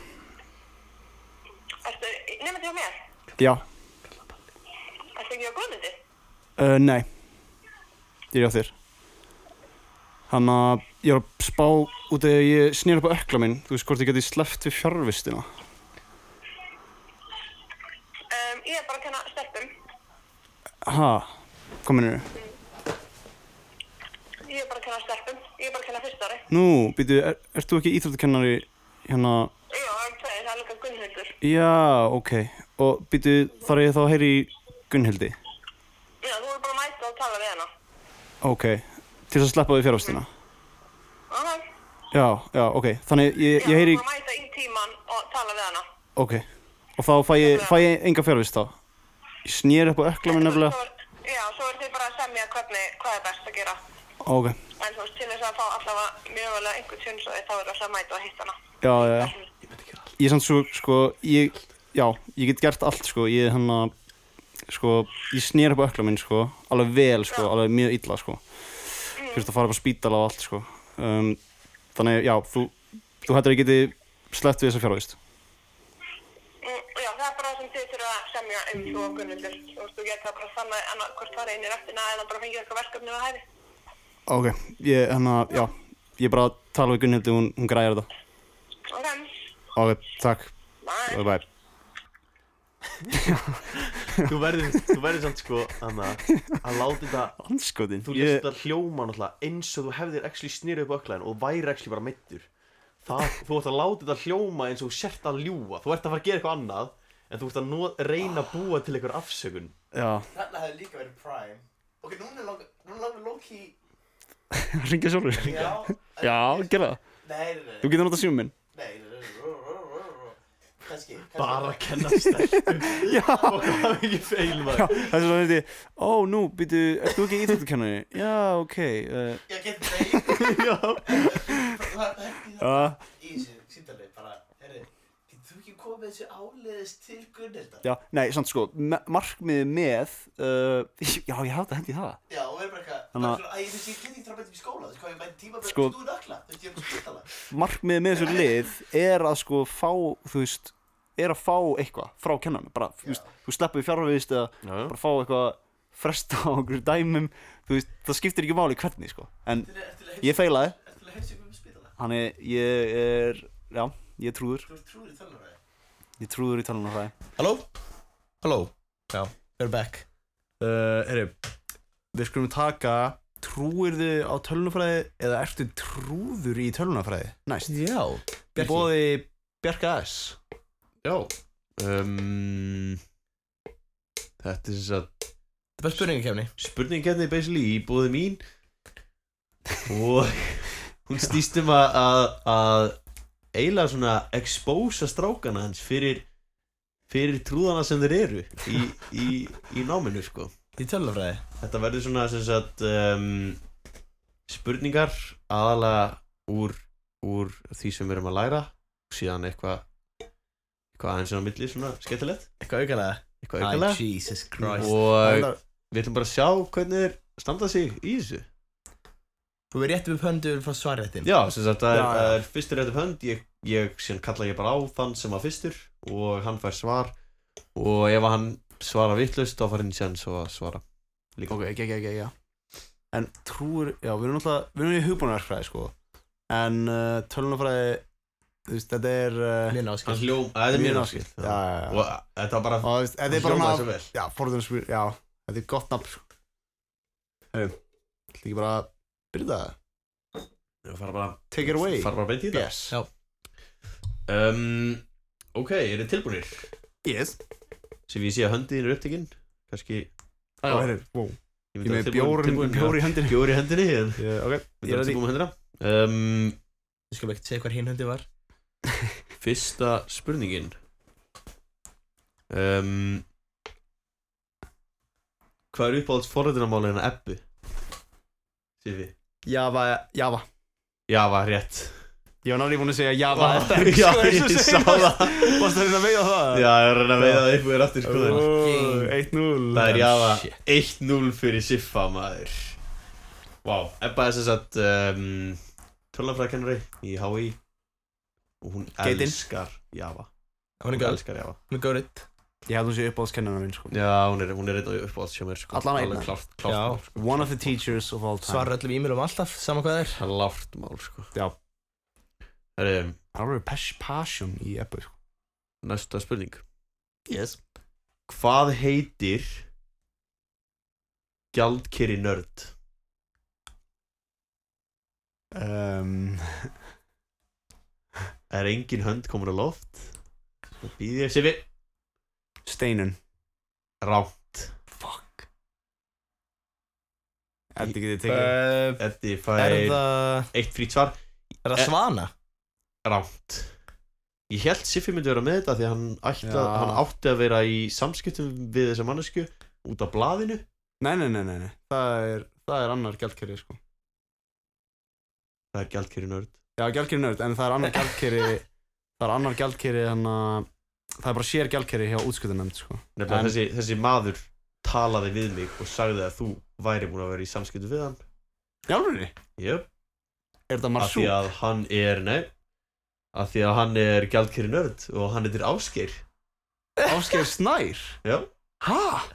Speaker 1: Ertu nefndi hjá mér?
Speaker 2: já,
Speaker 1: Ertu ekki hjá Guðmundi?
Speaker 2: Eh, uh, nei Ég er á þér Hanna, ég var að spá út af því að ég snýr upp á ökla minn þú veist hvort ég geti sleppt við fjárvistina
Speaker 1: Um, ég er bara að kenna stelpum.
Speaker 2: ha, hvað mennur
Speaker 1: Ég er bara að kenna stelpum. Ég er bara að kenna fyrst ári.
Speaker 2: nú, býtu, er, ert þú ekki íþróttakennari hérna,
Speaker 1: Já, ég tvei, það er líka Gunnhildur.
Speaker 2: já, ok og býtu, þarf ég þá að heyri í Gunnhildi,
Speaker 1: Já, þú er bara að mæta og tala við hana.
Speaker 2: ok til þess að sleppa við fjárvistina
Speaker 1: Aha.
Speaker 2: já, já, ok, þannig ég,
Speaker 1: Já,
Speaker 2: ég heyri,
Speaker 1: þú er bara að mæta í tíman og tala við hana.
Speaker 2: ok og þá fæ ég, fæ ég enga fjárvist þá ég snýr upp á ökla minn nefnilega
Speaker 1: Svo er- Já, svo er þið bara að semja hvernig, hvað er best að gera.
Speaker 2: ok,
Speaker 1: En þú veist, til þess að fá allavega mjög vel að einhver tjónsóði, þá er alltaf að mæta og hitta hana.
Speaker 2: já, já, já ég samt svo, sko, ég já, ég get gert allt, sko, ég hann að sko, ég snýr upp á ökla minn, sko, alveg vel, sko,
Speaker 1: Já.
Speaker 2: alveg mjög illa, sko þurft að fara upp á spítala og allt, sko um, þannig, já, þú þú hættir að ég geti sleppt við þessa fjárvist
Speaker 1: Mm, Já, það er bara það sem þið þurfa að semja um þú og Gunnhildur. Þú veist, þú getur það bara þannig annað hvort það er einir eftirna eða bara fengið eitthvað verkefni við hæfi.
Speaker 2: ok, ég, hann að, já, ég bara tala við Gunnhildi, hún, hún græðir þetta
Speaker 1: Ok,
Speaker 2: ok, takk,
Speaker 1: bye.
Speaker 2: bye bye
Speaker 4: Þú verður, þú verður samt sko Anna, að láta þetta
Speaker 2: anskotin,
Speaker 4: Þú
Speaker 2: ég,
Speaker 4: lest þetta hljóma náttúrulega eins og þú hefðir actually snýrið upp öklaðin og væri actually bara meittur Það, þú ert að láta þetta hljóma eins og þú sért að ljúa Þú ert að fara að gera eitthvað annað En þú ert að not, reyna að búa til einhver afsökun
Speaker 2: *laughs* já,
Speaker 3: Þarna hefði líka verið prime Ok, núna langar, núna langar Loki
Speaker 2: ringja sjálfur
Speaker 3: Já,
Speaker 2: já, gera það,
Speaker 3: nei, nei,
Speaker 2: þú getur notað símum minn
Speaker 3: nei, nei Kanski,
Speaker 4: Bara að kenna
Speaker 3: *laughs*
Speaker 4: stelpum
Speaker 2: já,
Speaker 4: Og það er ekki feil
Speaker 2: já,
Speaker 4: maður
Speaker 2: það er svo þetta ó, nú, býtu, ert þú ekki íþjóttukennari já, ok uh,
Speaker 3: Ég
Speaker 4: *laughs*
Speaker 3: get það
Speaker 2: já,
Speaker 3: Það er ekki
Speaker 2: já,
Speaker 4: Ah.
Speaker 3: í þessu síndalegi bara, herri, getur þú ekki komið þessu áleiðis til Gunnildar?
Speaker 2: já, nei, samt sko me- markmiðið með uh, *laughs* já, ég hafði hendi það
Speaker 3: Já, og verður bara eitthvað,
Speaker 2: Þannig að-
Speaker 3: Þannig að, æ, þú veist, ég get ekki trafætt upp í skóla, þú veist, hvað ég mæti tíma
Speaker 2: Sko-
Speaker 3: sko... stúin ökla, þú veist, ég er ekki spítala.
Speaker 2: markmiðið með þessu lið er að sko fá, þú veist er að fá eitthvað frá kennanum bara, þú veist, þú sleppur í fjárfæðist eða
Speaker 4: Já, já.
Speaker 2: bara fá eitthvað fresta á okkur dæmum þú veist, það skiptir ekki máli hvernig sko en ég feilaði,
Speaker 3: Ertu að hefsa um spítala?
Speaker 2: þannig ég er já, ég er trúður,
Speaker 3: Þú ert trúður í tölunarfræði.
Speaker 2: ég er trúður í talunum
Speaker 3: Halló? Halló? Já, we're back.
Speaker 5: uh, Herri, við skulum taka Trúirðu á tölunafræði eða ertu trúður í tölunafræði? Næst
Speaker 3: Já,
Speaker 5: Bjarki. Bóði Bjarka S
Speaker 3: Já,
Speaker 4: um, Þetta er þess að
Speaker 3: það var spurningakefni.
Speaker 4: spurningakefni basically í búði mín og hún snýst um að, að, að eiginlega svona expósa strákana hans fyrir fyrir trúðana sem þeir eru í, í, í náminu sko
Speaker 3: Í tölunarfræði.
Speaker 4: þetta verður svona sem sagt um, spurningar aðalega úr, úr því sem við erum að læra og síðan eitthvað eitthvað aðeins sem á milli svona skemmtilegt
Speaker 3: Eitthvað aukalega?
Speaker 4: eitthvað aukalega
Speaker 3: Jesus
Speaker 4: og
Speaker 3: Æ,
Speaker 4: við ætlum bara að sjá hvernig þeir standa sig í þessu
Speaker 3: Þú er rétt upp höndu frá svarréttin.
Speaker 4: Já, sem sagt, það er,
Speaker 5: Já, já.
Speaker 4: það er fyrstur rétt upp hönd ég, ég, síðan kalla ég bara á þann sem var fyrstur og hann fær svar og ef hann svarar vittlust þá fær hann sér svo að svara
Speaker 5: Ok, ekki, ekki, ekki, já En trúir, já, við erum náttúrulega Við erum í hugbúnaverkfræði, sko En uh, tölunafræði, þú veist, þetta er uh,
Speaker 3: Lina
Speaker 4: Hans
Speaker 3: áskil.
Speaker 4: hljóm, það er mjög
Speaker 5: náskilt
Speaker 4: náskilt
Speaker 5: Já, já, já
Speaker 4: Og þetta var bara
Speaker 5: Og þú veist, þetta er bara
Speaker 4: hljómaði
Speaker 5: nafn
Speaker 4: svo vel
Speaker 5: Já, forðunarspyr, já, þetta er gott nafn sko. Herru, ætla ekki bara að byrja það
Speaker 4: Það fara bara,
Speaker 5: Take it away
Speaker 4: fara bara beint í þetta
Speaker 5: Yes
Speaker 3: Já.
Speaker 4: um, Ok, eru þið tilbúinir?
Speaker 5: Yes
Speaker 4: Sem ég sé að höndin er upptekinn Kanski
Speaker 5: Ó, herru, wow Ég
Speaker 4: myndi að
Speaker 5: með
Speaker 4: tilbúin-
Speaker 5: bjór,
Speaker 4: tilbúin-
Speaker 5: bjór í hendinni
Speaker 4: Bjór í hendinni en
Speaker 5: yeah, Ok,
Speaker 4: Við
Speaker 5: ég er
Speaker 4: erum
Speaker 5: að því
Speaker 4: tilbúin með hendina um,
Speaker 3: Þú skulum ekkert segja hvað hinn höndi var.
Speaker 4: Fyrsta spurningin um, Hvað er uppáhalds forrættinamálið hennar Ebbu? Sifi
Speaker 5: Java, Java
Speaker 4: Já, var rétt
Speaker 5: Ég var náttúrulega búin að segja Java er sterk,
Speaker 4: *laughs* Já,
Speaker 5: *laughs* sko, eins og
Speaker 4: ég sá
Speaker 5: segir
Speaker 4: það
Speaker 5: varst- *laughs* Varst það hérna að veiða það?
Speaker 4: Já, ég er að reyna að veiða það upp og er aftur skoðin
Speaker 5: Ó, 1-0
Speaker 4: Það er Java
Speaker 3: shit.
Speaker 4: 1-0 fyrir Siffa maður Vá, Ebba er sem sagt um, Tölnafræðkennari í HÍ Og hún
Speaker 5: Geitin.
Speaker 4: elskar Java
Speaker 3: Hún er
Speaker 4: Hún
Speaker 3: góð.
Speaker 4: elskar Java
Speaker 3: Hún er góðritt.
Speaker 2: Ég held hún sé uppáðskennina minn sko.
Speaker 4: Já, hún er, hún er eitthvað uppáhalds hjá mér sko.
Speaker 2: Allan einn.
Speaker 4: Alveg klárt,
Speaker 3: Já.
Speaker 4: klárt mál sko.
Speaker 2: One of the teachers of all time
Speaker 3: Svara öllum e-mailum alltaf, sama hvað það er
Speaker 4: Klárt mál sko
Speaker 2: Já.
Speaker 4: Herri,
Speaker 2: Alveg pas- passion í eppu sko.
Speaker 4: næsta spurning
Speaker 3: Yes
Speaker 4: Hvað heitir Gjaldkeri nörd? Ehm,
Speaker 2: um,
Speaker 4: Er engin hönd komin á loft? Það býði ég sem við
Speaker 2: Steinun
Speaker 4: Rátt
Speaker 2: Fuck Eddi getið tekið
Speaker 3: uh,
Speaker 4: Eddi
Speaker 3: Er
Speaker 4: fær
Speaker 3: það,
Speaker 4: eitt frýt svar
Speaker 3: er það
Speaker 4: Eh.
Speaker 3: svana?
Speaker 4: Rátt Ég held Siffi myndi vera með þetta því að hann, ætla,
Speaker 2: Já.
Speaker 4: hann átti að vera í samskiptum við þessa mannesku út af blaðinu
Speaker 2: Nei, nei, nei, nei, nei. Það, er, það er annar gjaldkerri sko.
Speaker 4: Það er Gjaldkeri nörd
Speaker 2: Já, gjaldkerri nörd, en það er annar gjaldkerri Það er annar gjaldkerri hann að Það er bara sér gjaldkerri hjá útskutunemnd sko.
Speaker 4: Nefnilega
Speaker 6: En-
Speaker 4: þessi, þessi maður talaði við mig og sagði að þú væri búin að vera í samskiptum við hann
Speaker 2: Jálfurni?
Speaker 4: Jöp,
Speaker 2: Er það
Speaker 4: af því
Speaker 2: marsú?
Speaker 4: að hann er, nei af því að hann er gjaldkeri nörd og hann heitir Ásgeir
Speaker 2: Ásgeir Snær?
Speaker 4: Já,
Speaker 2: Ha?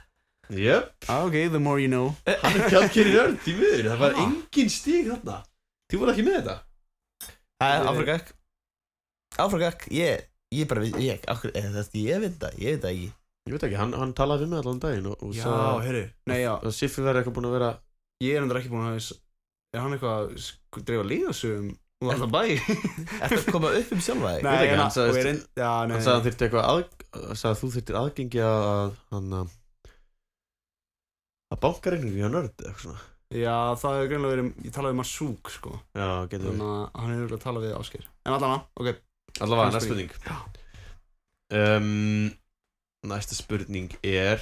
Speaker 4: jöp,
Speaker 2: Ah, ok, the more you know
Speaker 4: hann er gjaldkeri nörd í miður, það var
Speaker 2: Ha?
Speaker 4: engin stíg þarna Þú voru ekki með þetta?
Speaker 3: Það er áfragakk Áfragakk, ég, ég bara við, ég, akkur, er það, ég veit það, ég veit það ekki
Speaker 4: Ég veit ekki, hann, hann talaði við mig allan daginn og, og sagði
Speaker 2: herru Nei, já,
Speaker 4: að Siffi verði eitthvað búin að vera
Speaker 2: ég er endur ekki búin að hafa þess- Er hann eitthvað að sk- dreifa líðasögum um alltaf bæ?
Speaker 3: Ertu að koma upp um sjálfa þig?
Speaker 4: Nei, ekki,
Speaker 2: en
Speaker 4: hann
Speaker 2: að-
Speaker 4: sagðist-
Speaker 2: og er ein- Já, nei,
Speaker 4: hann sagði að hann þyrfti eitthvað að, sagði að þú þyrftir aðgengi að að- hann að að bankareikningu hjá nörd eitthvað svona
Speaker 2: Já, það hefur greinlega verið Ég talaði um Marsúk, sko
Speaker 4: Já, getur
Speaker 2: Þannig að hann hefur verið að tala við Ásgeir En allan, ok
Speaker 4: Allavega,
Speaker 2: Næsta
Speaker 4: næsta spurning um, Næsta spurning er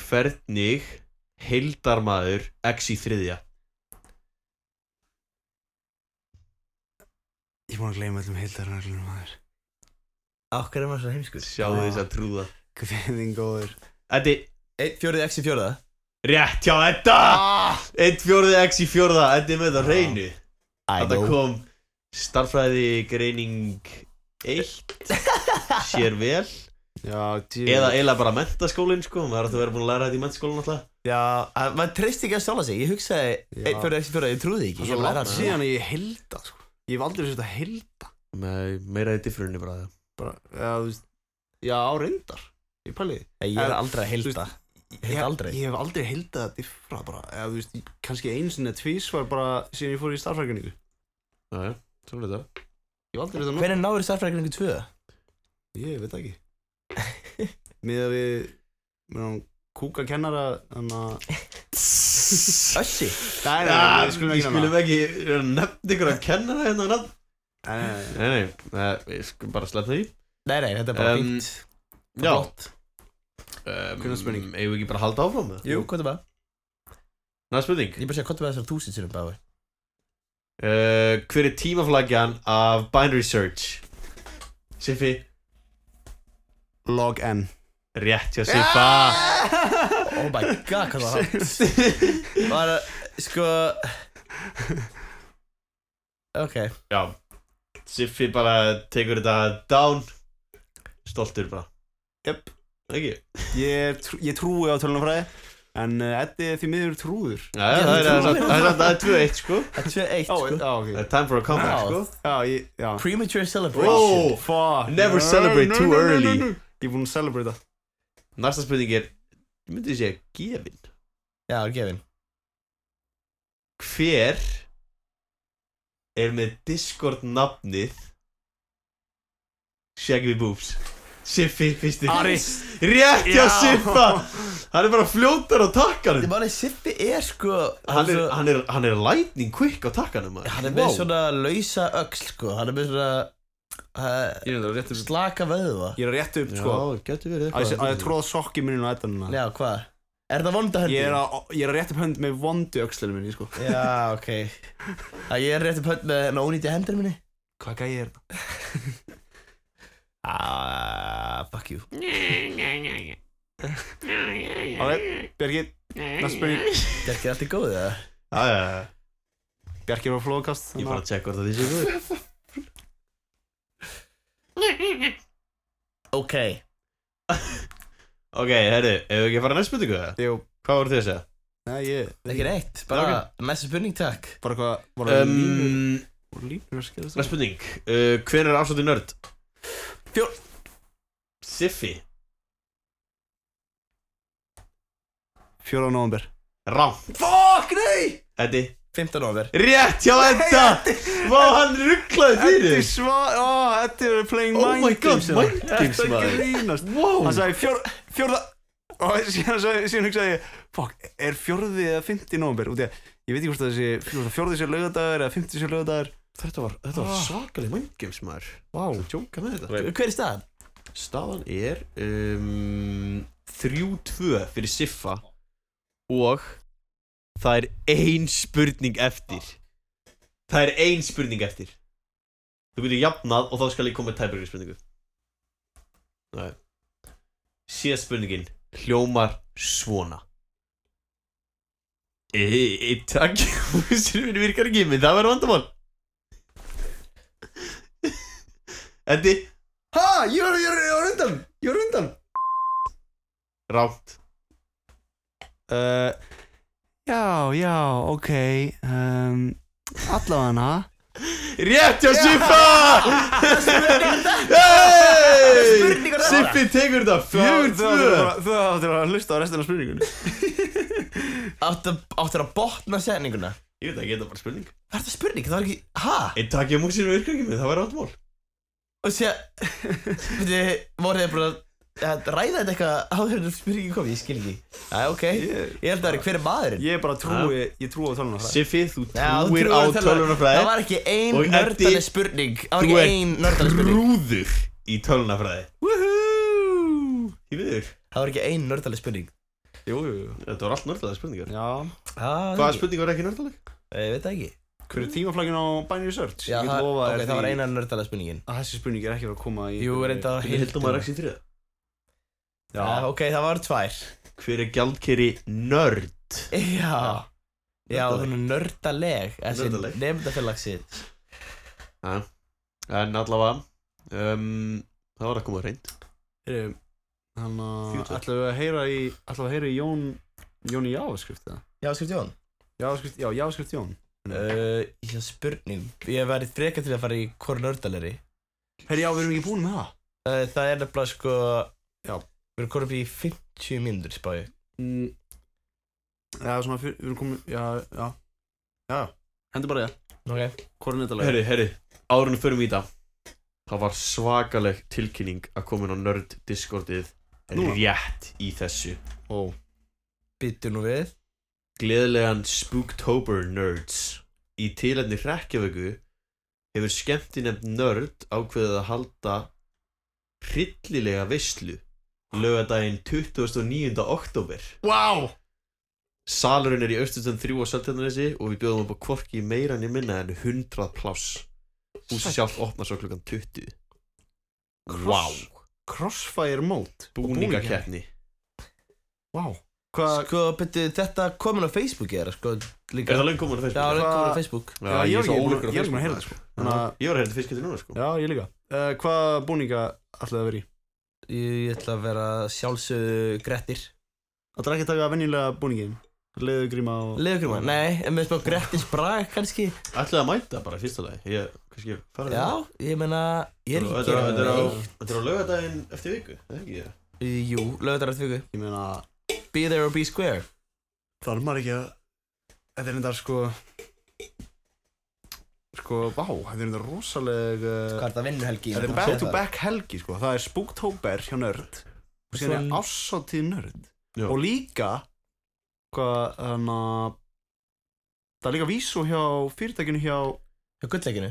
Speaker 4: Hvernig heildarmaður X í þriðja
Speaker 2: Ég má gleyma öllum heildarreglunum maður
Speaker 3: Akkur er maður svo heimskur
Speaker 4: Sjáðu
Speaker 2: Ah.
Speaker 4: þess að trúða
Speaker 2: Hvernig góður
Speaker 4: Eddi,
Speaker 3: Einn fjóriði x í fjóriða
Speaker 4: rétt hjá þetta
Speaker 2: Ah!
Speaker 4: Einn fjórði X í fjórða Eddi er með það
Speaker 2: Já.
Speaker 4: reynu Þetta
Speaker 3: know.
Speaker 4: kom starffræði greining
Speaker 2: *laughs*
Speaker 4: 1 Sér vel
Speaker 2: Já, djú
Speaker 4: Eða eiginlega bara mentaskólin sko Maður ætti að vera búin að læra þetta í mentaskólin alltaf
Speaker 3: Já,
Speaker 2: eh,
Speaker 3: að- maður treyst ekki að stóla sig Ég hugsaði,
Speaker 2: Já.
Speaker 3: einn fjóriði x í fjóriða, ég trúði ekki
Speaker 2: Það er
Speaker 3: Ég
Speaker 2: svo
Speaker 3: bara,
Speaker 2: langt
Speaker 3: er það-
Speaker 2: síðan að ég heilda sko. Ég hef aldrei sett að heilda
Speaker 4: Nei, meira í differunni bara
Speaker 2: bara, eða, þú veist, Já, á reyndar Ég pæli því.
Speaker 3: Nei, Ég er aldrei að
Speaker 2: Þú
Speaker 3: heilda Heilda
Speaker 2: Ég-
Speaker 3: aldrei?
Speaker 2: Ég hef aldrei heildað að diffra bara eða, þú veist, ég- kannski eins en tvís var bara síðan ég fór í starfrækningu
Speaker 4: Já, já, svona er þetta
Speaker 2: Ég hef aldrei þetta nú
Speaker 3: Hvernig náður starfrækningu 2?
Speaker 2: Ég veit það
Speaker 4: *laughs*
Speaker 2: ekki Miða við með kúka kennara Þannig að
Speaker 4: *laughs*
Speaker 3: Össi
Speaker 2: Nei, nei,
Speaker 4: Já,
Speaker 2: við skulum ekki nefna.
Speaker 4: Ah, ekki eh, nefna ykkur að kenna það hérna og nafn.
Speaker 2: Nei, nei, nei. eh,
Speaker 4: Nei, nei, nei, við skulum bara slepp því
Speaker 3: Nei, nei, þetta er bara
Speaker 4: Em,
Speaker 3: fínt
Speaker 4: já.
Speaker 3: Flott.
Speaker 4: um,
Speaker 2: Hvenær spurning?
Speaker 4: Eigum við ekki bara að halda áfram með það?
Speaker 3: Jú, hvað er það?
Speaker 4: Næ, spurning
Speaker 3: Ég bara sé að hvað er það þessar þúsinn sinum báði
Speaker 4: uh, Hver er tímaflagjan af Binary Search? Siffi
Speaker 2: Log N
Speaker 4: Rétt hjá Siffa
Speaker 3: Oh
Speaker 4: *laughs*
Speaker 3: my god, hvað var það? Var, sko Ok
Speaker 4: Já Siffi bara tekur þetta down Stoltur bara
Speaker 2: Jöp.
Speaker 4: Ekki?
Speaker 2: Ég, er trú, ég trúi á tölunafræði En uh, Eddi er því miður trúður
Speaker 4: Já, það er
Speaker 3: þú-
Speaker 4: það er- það er- það er 2-1 sko
Speaker 3: Það er
Speaker 2: Já,
Speaker 3: 2-1,
Speaker 2: já,
Speaker 3: sko
Speaker 4: Það
Speaker 2: ok
Speaker 4: er time for a comeback
Speaker 3: Já.
Speaker 4: sko
Speaker 2: Já, ég, já Oh,
Speaker 3: Premature
Speaker 4: Wow.
Speaker 3: celebration
Speaker 2: Fuck
Speaker 4: Never celebrate too early.
Speaker 2: Ég er búinn að celebrate það
Speaker 4: Næsta spurning er Ég myndi ég segja gefin
Speaker 3: Já, gefin
Speaker 4: Hver er með Discord nafnið Shaggy Boobs Siffi fyrstu Rétt hjá
Speaker 2: Já.
Speaker 4: Siffa Hann er bara fljótar á
Speaker 3: Þið
Speaker 4: takkanum
Speaker 3: máli, Siffi er sko
Speaker 4: Hann er,
Speaker 3: svo-
Speaker 4: hann er, hann er lightning quick á takkanum maður.
Speaker 3: hann er með svona lausa öxl, sko Hann er með svona uh,
Speaker 2: Ég er að rétta upp
Speaker 3: Slaka vöðva
Speaker 2: Ég er að rétta upp,
Speaker 4: Já,
Speaker 2: sko
Speaker 4: getur
Speaker 2: Að ég
Speaker 4: verið
Speaker 2: sé- að
Speaker 4: eitthvað
Speaker 2: ég tróða sokki minni á eddanina
Speaker 3: Já, hvað? Er það vonda höndi?
Speaker 2: Ég er að, ég er að rétta upp hönd með vondu öxlinu minni, sko
Speaker 3: Já, ok Það ég er rétt upp hönd með hennar ónýti hendur minni
Speaker 2: Hvað gæði er þetta?
Speaker 3: *laughs* Ah, fuck you
Speaker 2: Ok, Bjarki, næst spurning
Speaker 3: Þetta er alltaf góð, eða?
Speaker 4: Já, já, já
Speaker 2: Bjarki var á flóðkast
Speaker 4: Ég bara að tjekka hvort að því sé góður
Speaker 3: Ok
Speaker 4: Ok, herru, hefur við ekki að fara að næst spurningu það?
Speaker 2: Jú,
Speaker 4: Hvað voru þið að segja?
Speaker 2: nei, ég
Speaker 3: Ekki neitt, bara næsta spurning takk
Speaker 2: Bara hvað, voru um, línur
Speaker 4: Um,
Speaker 2: Voru línur að skilja
Speaker 4: næst spurning uh, Hver er afslutin nörd? Fjór Siffi
Speaker 2: Fjóra á nóvember
Speaker 4: Rám
Speaker 3: Fuck, nei!
Speaker 4: Eddi
Speaker 3: 15. november
Speaker 4: Rétt hjá Edda Vá, hann rugglaði
Speaker 2: Eddi
Speaker 4: fyrir
Speaker 2: svar, ó, Eddi er playing
Speaker 4: Oh
Speaker 2: mind
Speaker 4: my god,
Speaker 2: games hérna.
Speaker 4: mind games
Speaker 2: Þetta er
Speaker 4: maður Oh.
Speaker 2: grínast
Speaker 4: Wow
Speaker 2: Hann sagði fjór, fjórða Og síðan, sagði, síðan hugsaði ég Fuck, er fjórði eða fymti nóvember Út í að ég veit ekki hvort það sé hvort að Fjórði sé laugadagur eða fymti sé laugadagur
Speaker 4: Þetta var, þetta
Speaker 2: Ah.
Speaker 4: var svakaleg mind games maður Vá wow. Tjóka með þetta
Speaker 3: Hver er staðan?
Speaker 4: Staðan er um, 3-2 fyrir Siffa og það er ein spurning eftir Það er ein spurning eftir Þú getur jafnað og þá skal ég koma með tæbyrgri spurningu Nei Síðast spurningin hljómar svona Ei, ei, takk Sér virkar ekki, menn það verður vandamál Endi
Speaker 3: Ha, ég var, ég var, ég var undan Ég var undan
Speaker 4: Rátt Eh,
Speaker 2: uh, Já, já, ok um,
Speaker 4: ehm,
Speaker 2: Allavega
Speaker 4: Rétt hjá Siffa um
Speaker 3: Spurningar þetta.
Speaker 4: Siffi tekur þetta Fjögur tvö
Speaker 2: Þú áttir að hlusta á restina af spurningunni
Speaker 3: Áttu áttu að botna setninguna
Speaker 4: Ég veit ekki, þetta er bara spurning
Speaker 3: Það er þetta spurning, það var ekki, ha?
Speaker 4: Einn takk ég músir við virkar ekki með, það væri áttmál
Speaker 3: Og sé, veitu, voru þið bara að ræða þetta eitthvað áður en spurningin kom, ég skil ekki Æ, ok,
Speaker 2: Ég-
Speaker 3: ég held að það er hver er maðurinn
Speaker 2: Ég bara trúi, ég trúi á töluna það
Speaker 4: Siffi, þú
Speaker 3: Já, þú
Speaker 4: trúir á
Speaker 3: trúir á tölvuna. Það
Speaker 4: tölunafræði
Speaker 3: var ekki ein
Speaker 4: Og Eddi,
Speaker 3: nördaleg spurning Það var
Speaker 4: Þú
Speaker 3: ekki ein
Speaker 4: ert
Speaker 3: nördaleg spurning
Speaker 4: trúður í tölunafræði Í viður
Speaker 3: Það var ekki ein nördaleg spurning
Speaker 2: Jú, jú, jú
Speaker 4: Þetta var allt nördalega spurningar
Speaker 2: Já
Speaker 3: Ah,
Speaker 4: Hvaða spurning var ekki nördaleg?
Speaker 3: Ég veit það ekki
Speaker 2: Hver er tímaflagin á Binary Search?
Speaker 3: Já,
Speaker 2: ég get
Speaker 3: það,
Speaker 2: lofa
Speaker 3: ok,
Speaker 2: þér
Speaker 3: það var
Speaker 2: því
Speaker 3: eina nördalega spurningin
Speaker 2: að þessi spurning er ekki að fara að koma í
Speaker 3: Jú, reynda
Speaker 4: Ég held að maður ekki þrjöð
Speaker 2: Já,
Speaker 3: Ok, það var tvær *laughs*
Speaker 4: Hver er gjaldkeri nörd?
Speaker 3: Já Já,
Speaker 4: Nördaleg.
Speaker 3: þannig nördaleg Þessi
Speaker 4: Nördaleg.
Speaker 3: nefndafélagsins
Speaker 4: En allavega um, Það var að koma reynd
Speaker 2: heyrðu, hann að
Speaker 4: Future.
Speaker 2: ætlum við að heyra í ætlum við að heyra í Jón Jón í Jáskrift eða?
Speaker 3: Já, skrift Jón
Speaker 2: Jáskrift, já, Jáskrift Jón
Speaker 3: uh, Ég hef spurning Ég hef verið freka til að fara í hvort nördalegri
Speaker 2: Herri, já, við erum ekki búin með það
Speaker 3: uh, Það er nefnilega sko
Speaker 2: Já.
Speaker 3: Við erum komin upp í 50 mínútur spáði
Speaker 2: mm. Já, svona, fyr, við erum komin, já, já Já, hendur bara ég
Speaker 3: Ok
Speaker 2: Hvorn er þetta lag?
Speaker 4: Herri, herri, árunum fyrir mýta Það var svakaleg tilkynning að koma inn á nörd discordið
Speaker 2: Nú.
Speaker 4: rétt í þessu
Speaker 2: Ó,
Speaker 3: Býttu nú við
Speaker 4: Gleðilegan Spooktober Nerds Í tilefni hrekkjavöku hefur skemmtinefnd nörd ákveðið að halda hryllilega veislu lögadaginn 29. oktober
Speaker 2: wow
Speaker 4: Salurinn er í Östustan 3 á Seltjarnarnesi og við bjóðum upp á hvorki meira en minna en 100 pláss Húsi sjálf opnar svo klukkan 20
Speaker 2: Cross- Crossfire Mode
Speaker 4: Búningakeppni
Speaker 2: Wow Hvað,
Speaker 3: Sko, býttu, þetta komin á Facebook er það, sko
Speaker 4: Er
Speaker 3: Líka
Speaker 4: það löng komin á
Speaker 3: Já, það
Speaker 4: Facebook?
Speaker 3: er
Speaker 2: Hvað-
Speaker 3: komin á Facebook
Speaker 4: Já,
Speaker 2: Já, ég
Speaker 4: ég
Speaker 2: er
Speaker 4: er svo
Speaker 2: ekki-
Speaker 4: ólíkur
Speaker 2: ég
Speaker 4: á
Speaker 2: er ekki búin að
Speaker 4: Facebook,
Speaker 2: heyra það,
Speaker 4: sko.
Speaker 2: þannig að
Speaker 4: Ég var að heyra þetta fyrst getur núna sko
Speaker 2: Já, ég líka uh, Hvaða búninga ætlaði að vera í?
Speaker 3: Ég, ég ætla að vera sjálfsögðu Grettir
Speaker 2: Það er ekki að taka venjulega búningin Leðugríma og
Speaker 3: Leðugrúma, nei, en með smá Grettis brag kannski
Speaker 4: Ætlaði að mæta bara í fyrsta lagi Ég, kannski, fara
Speaker 3: Já, ég meina, ég er ekki að
Speaker 4: Þetta
Speaker 3: gera
Speaker 4: er- þetta er á-
Speaker 3: neitt.
Speaker 4: þetta er á laugardaginn eftir viku er það ekki?
Speaker 3: Jú, lögðar eftir viku
Speaker 2: Ég meina
Speaker 3: Be there or be square
Speaker 2: Þarf maður ekki að Þetta er reyndar sko Sko, vá, þetta er reyndar rosaleg uh,
Speaker 3: Hvað er þetta vinnu helgi?
Speaker 2: Þetta er back to back helgi sko Það er Spooktober hjá nörd Og síðan er
Speaker 3: Svo-
Speaker 2: ásáttíð nörd
Speaker 4: Já.
Speaker 2: Og líka Hvað, þannig að Það er líka vísu hjá fyrirtækinu hjá
Speaker 3: Hjá gullleikinu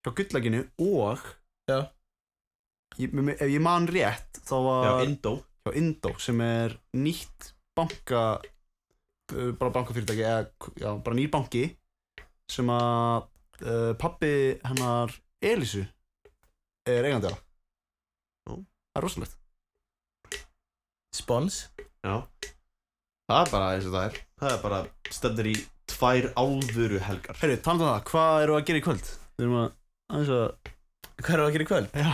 Speaker 2: Hjá gullækinu og
Speaker 3: Já.
Speaker 2: ég, mér- Ef ég man rétt Þá var
Speaker 4: Já, Indó
Speaker 2: hjá Indó sem er nýtt banka uh, bara bankafyrirtæki eða k- já, bara nýr banki sem að uh, pappi hennar Elísu er eigandi á
Speaker 4: Ó.
Speaker 2: það er rosalegt
Speaker 3: Spons
Speaker 4: Já Það er bara eins og það er Það er bara stendur í tvær álfuru helgar
Speaker 2: Herru, talað um það, hvað eru að gera í kvöld? Við erum að aðeins að
Speaker 3: Hvað erum við að gera í kvöld?
Speaker 2: já,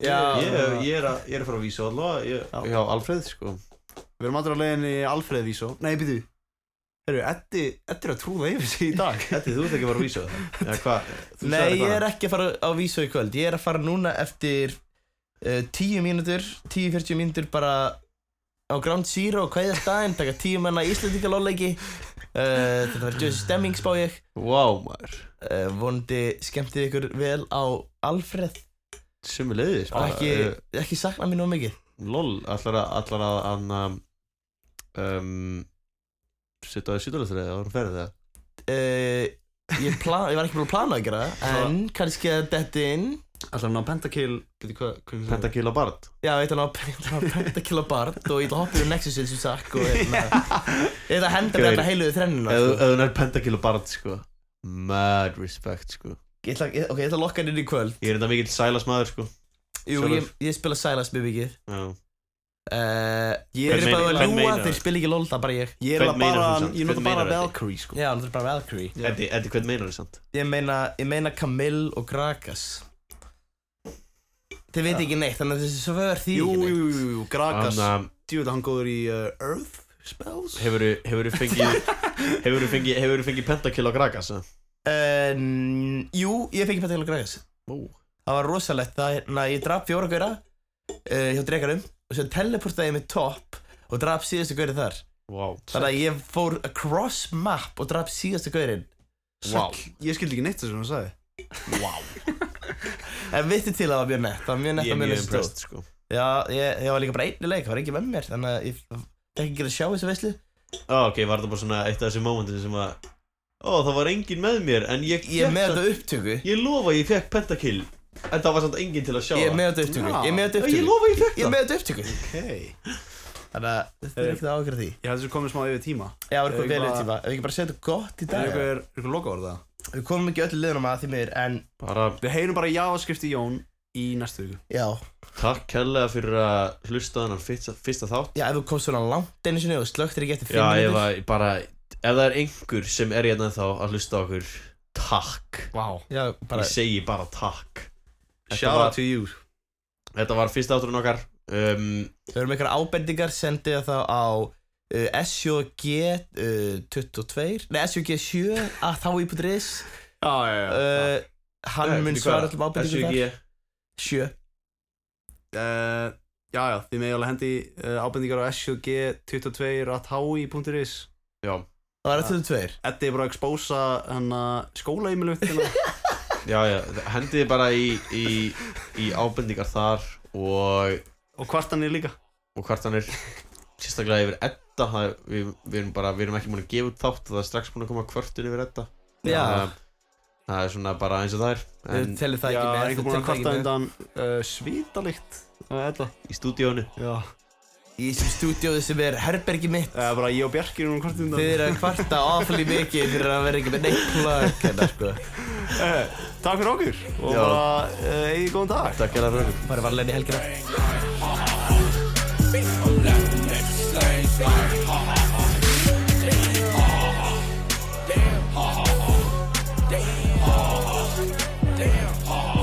Speaker 3: Já,
Speaker 4: ég, ég, er að, ég er að fara að vísa allavega ég,
Speaker 2: Já.
Speaker 4: hjá Alfreð sko
Speaker 2: Við erum alltaf að leiðinni í Alfreð Vísó Nei, byrju Herru, Eddi, Eddi er að trúða yfir sig í
Speaker 4: *laughs*
Speaker 2: dag
Speaker 4: Þetta þú ert ekki að fara að vísa það Já, hvað? Þú sagðir
Speaker 3: Nei, ég
Speaker 4: hvað?
Speaker 3: er ekki að fara á vísu í kvöld Ég er að fara núna eftir uh, 10 mínútur 10-40 mínútur bara á Ground Zero og kvæða staðinn taka 10 manna íslendingalóleiki uh, Þetta var Jössi Stemming spá ég
Speaker 4: Vá maður
Speaker 3: uh, Vonandi skemmtið ykkur vel á Alfreð
Speaker 4: Sumi leiðis Eh,
Speaker 3: og ekki, ekki sakna mér nóg mikið
Speaker 4: Lol, allar að Allar að anna um, Sitta á sýtulöftur eða voru ferðið það
Speaker 3: uh,
Speaker 2: Eh,
Speaker 3: ég, plan, ég var ekki búin að plana að gera það En kannski að detti inn
Speaker 2: Alltaf hann á Pentakill Byrju, hvað, hvað er
Speaker 4: Penta kila bart
Speaker 3: Já, ég ætla að- *laughs* ég ætla að penta killa bart og ég ætla að hoppa yfir Nexusil sem sakk og
Speaker 4: *laughs*
Speaker 3: hérna, ég ætla að henda með
Speaker 4: Great.
Speaker 3: alla heiluðu þrennina
Speaker 4: Ef
Speaker 3: sko.
Speaker 4: ef hún er penta kila bart sko Mad respect sko
Speaker 3: Ég ætla, ég, ok, ég ætla að lokka hann inn í kvöld
Speaker 4: Ég er enda mikill sælas maður sko
Speaker 3: Jú,
Speaker 4: Sjálfur.
Speaker 3: ég, ég spila Silas mjög mikið
Speaker 4: Já
Speaker 3: uh, Ég
Speaker 4: Hvern
Speaker 3: er
Speaker 4: meinar- hvern
Speaker 3: bara að ljúa,
Speaker 4: meinar
Speaker 3: þeir
Speaker 4: það?
Speaker 3: spila ekki LOL, það er bara ég
Speaker 2: Ég er
Speaker 4: Hvern
Speaker 2: eiginlega bara, ég nota
Speaker 4: meinar þú samt? Hvern
Speaker 2: bara
Speaker 4: meinar þú?
Speaker 2: Valkyrie sko
Speaker 3: Já, það er bara Valkyrie
Speaker 4: Eddi, Eddi, hvernig meinar þið samt?
Speaker 3: Ég meina, ég meina Camille og Gragas Þeir veit ekki neitt, þannig að þessi svör því
Speaker 2: Jú,
Speaker 3: ekki
Speaker 2: jú,
Speaker 3: neitt
Speaker 2: jú, jú, jú, Gragas
Speaker 4: Anna,
Speaker 2: Djúvita, hann góður í uh, Earth Spells
Speaker 4: hefurðu, hefurðu fengið
Speaker 3: *laughs*
Speaker 4: Hefurðu fengið, hefurðu fengið pentakil á Gragas eða?
Speaker 3: uh, Jú, ég fekk penta killa Gragas
Speaker 4: Ó.
Speaker 3: Það var rosalegt, þannig að ég draf fjóra gauðra uh, hjá dregarum og svo teleportaði ég með topp og draf síðustu gauðri þar
Speaker 4: Vá
Speaker 3: Þannig að ég fór across map og draf síðustu gauðrin
Speaker 2: Vá Ég skildi ekki neitt þess að hann sagði
Speaker 3: En vittu til að það var mjög nett, það var mjög nett
Speaker 4: Ég er
Speaker 3: að mjög
Speaker 4: mjög
Speaker 3: nett stóð.
Speaker 4: impressed sko
Speaker 3: Já, ég, ég var líka bara einu leik, það var ekki með mér, þannig að ég fekk ekki að sjá þessu veislu.
Speaker 4: Á, ok, var það bara svona eitt af þessi mómentin sem að Ó, það var engin með mér, en ég
Speaker 3: Ég er
Speaker 4: fékk
Speaker 3: með
Speaker 4: samt-
Speaker 3: þetta upptöku,
Speaker 4: Ég lofa ég fekk pentakill En það var samt enginn til að sjá
Speaker 3: ég er með þetta upptöku,
Speaker 2: Já.
Speaker 3: ég er með þetta
Speaker 4: það Ég
Speaker 3: upptöku,
Speaker 4: lofa ég fekk
Speaker 3: ég er
Speaker 4: það
Speaker 3: með þetta upptöku.
Speaker 2: Hey
Speaker 3: Þannig að þetta er
Speaker 2: Eh,
Speaker 3: ekkert að ákvæða því.
Speaker 2: Ég held að þessu komið smá yfir tíma
Speaker 3: Já,
Speaker 2: eh,
Speaker 3: það var eitthvað vel
Speaker 2: bara-
Speaker 3: eitt tíma, ef við ekki bara setja gott í
Speaker 2: Er
Speaker 3: dag.
Speaker 2: eitthvað, er eitthvað loka orða?
Speaker 3: Við komum ekki öllu liðnum að því mér, en
Speaker 4: Bara
Speaker 2: Við heyrum bara jáskrift í Jón í næstu viku
Speaker 3: já,
Speaker 4: takk kærlega fyrir að hlusta á þennan fyrsta, fyrsta þátt
Speaker 3: já, ef þú komst svona langt einu sinni og slögtir ekki
Speaker 4: Já,
Speaker 3: eftir fimm
Speaker 4: ég
Speaker 3: minútur.
Speaker 4: var bara Ef það er einhver sem er hérna þá að hlusta á okkur Takk
Speaker 2: Vá
Speaker 3: Já, bara,
Speaker 4: Ég segi bara takk Þetta
Speaker 2: Shout out
Speaker 4: var,
Speaker 2: to you
Speaker 4: þetta var fyrsta átturinn okkar um,
Speaker 3: þau eru með einhverja ábendingar, sendið það þá á uh, SJG22, nei, SJG7, að þá íbútrið
Speaker 2: Já, já, já
Speaker 3: uh, hann mun svara allum ábyrðingum þar
Speaker 4: SVG
Speaker 3: sjö
Speaker 2: uh, Já, já, þið megið alveg hendi uh, ábendingar á sjg22.hi.is
Speaker 4: Já,
Speaker 3: það var að 22
Speaker 2: Eddi er bara að hérna expósa hann að skólaheimilu
Speaker 4: já, já Hendiði bara í, í, í ábendingar þar Og
Speaker 2: og kvartanir líka
Speaker 4: og kvartanir sérstaklega yfir Edda það, er- við, við, erum bara, við erum ekki búin að gefa út þátt og það er strax búin að koma kvartun yfir Edda
Speaker 3: já,
Speaker 4: það, það er svona bara eins og það er
Speaker 3: þau
Speaker 4: en
Speaker 3: tellir það
Speaker 2: Já,
Speaker 3: ekki með
Speaker 2: einhver
Speaker 3: þau
Speaker 2: búin að
Speaker 3: telja það ekki
Speaker 2: kvarta
Speaker 3: með.
Speaker 2: undan uh, svítalikt Edda
Speaker 4: í stúdíónu
Speaker 2: Já
Speaker 3: í þessum stúdíóðu sem er herbergi mitt
Speaker 2: Það er bara ég og Bjarki erum að kvarta undan
Speaker 3: þið eru að kvarta áfæli mikið fyrir að vera ekki með neitt plug hérna sko
Speaker 2: Eh, Takk fyrir okkur og
Speaker 4: Já.
Speaker 2: bara uh, eigið góðan dag
Speaker 4: Takk fyrir okkur
Speaker 3: bara varlega í helgina
Speaker 7: Damn.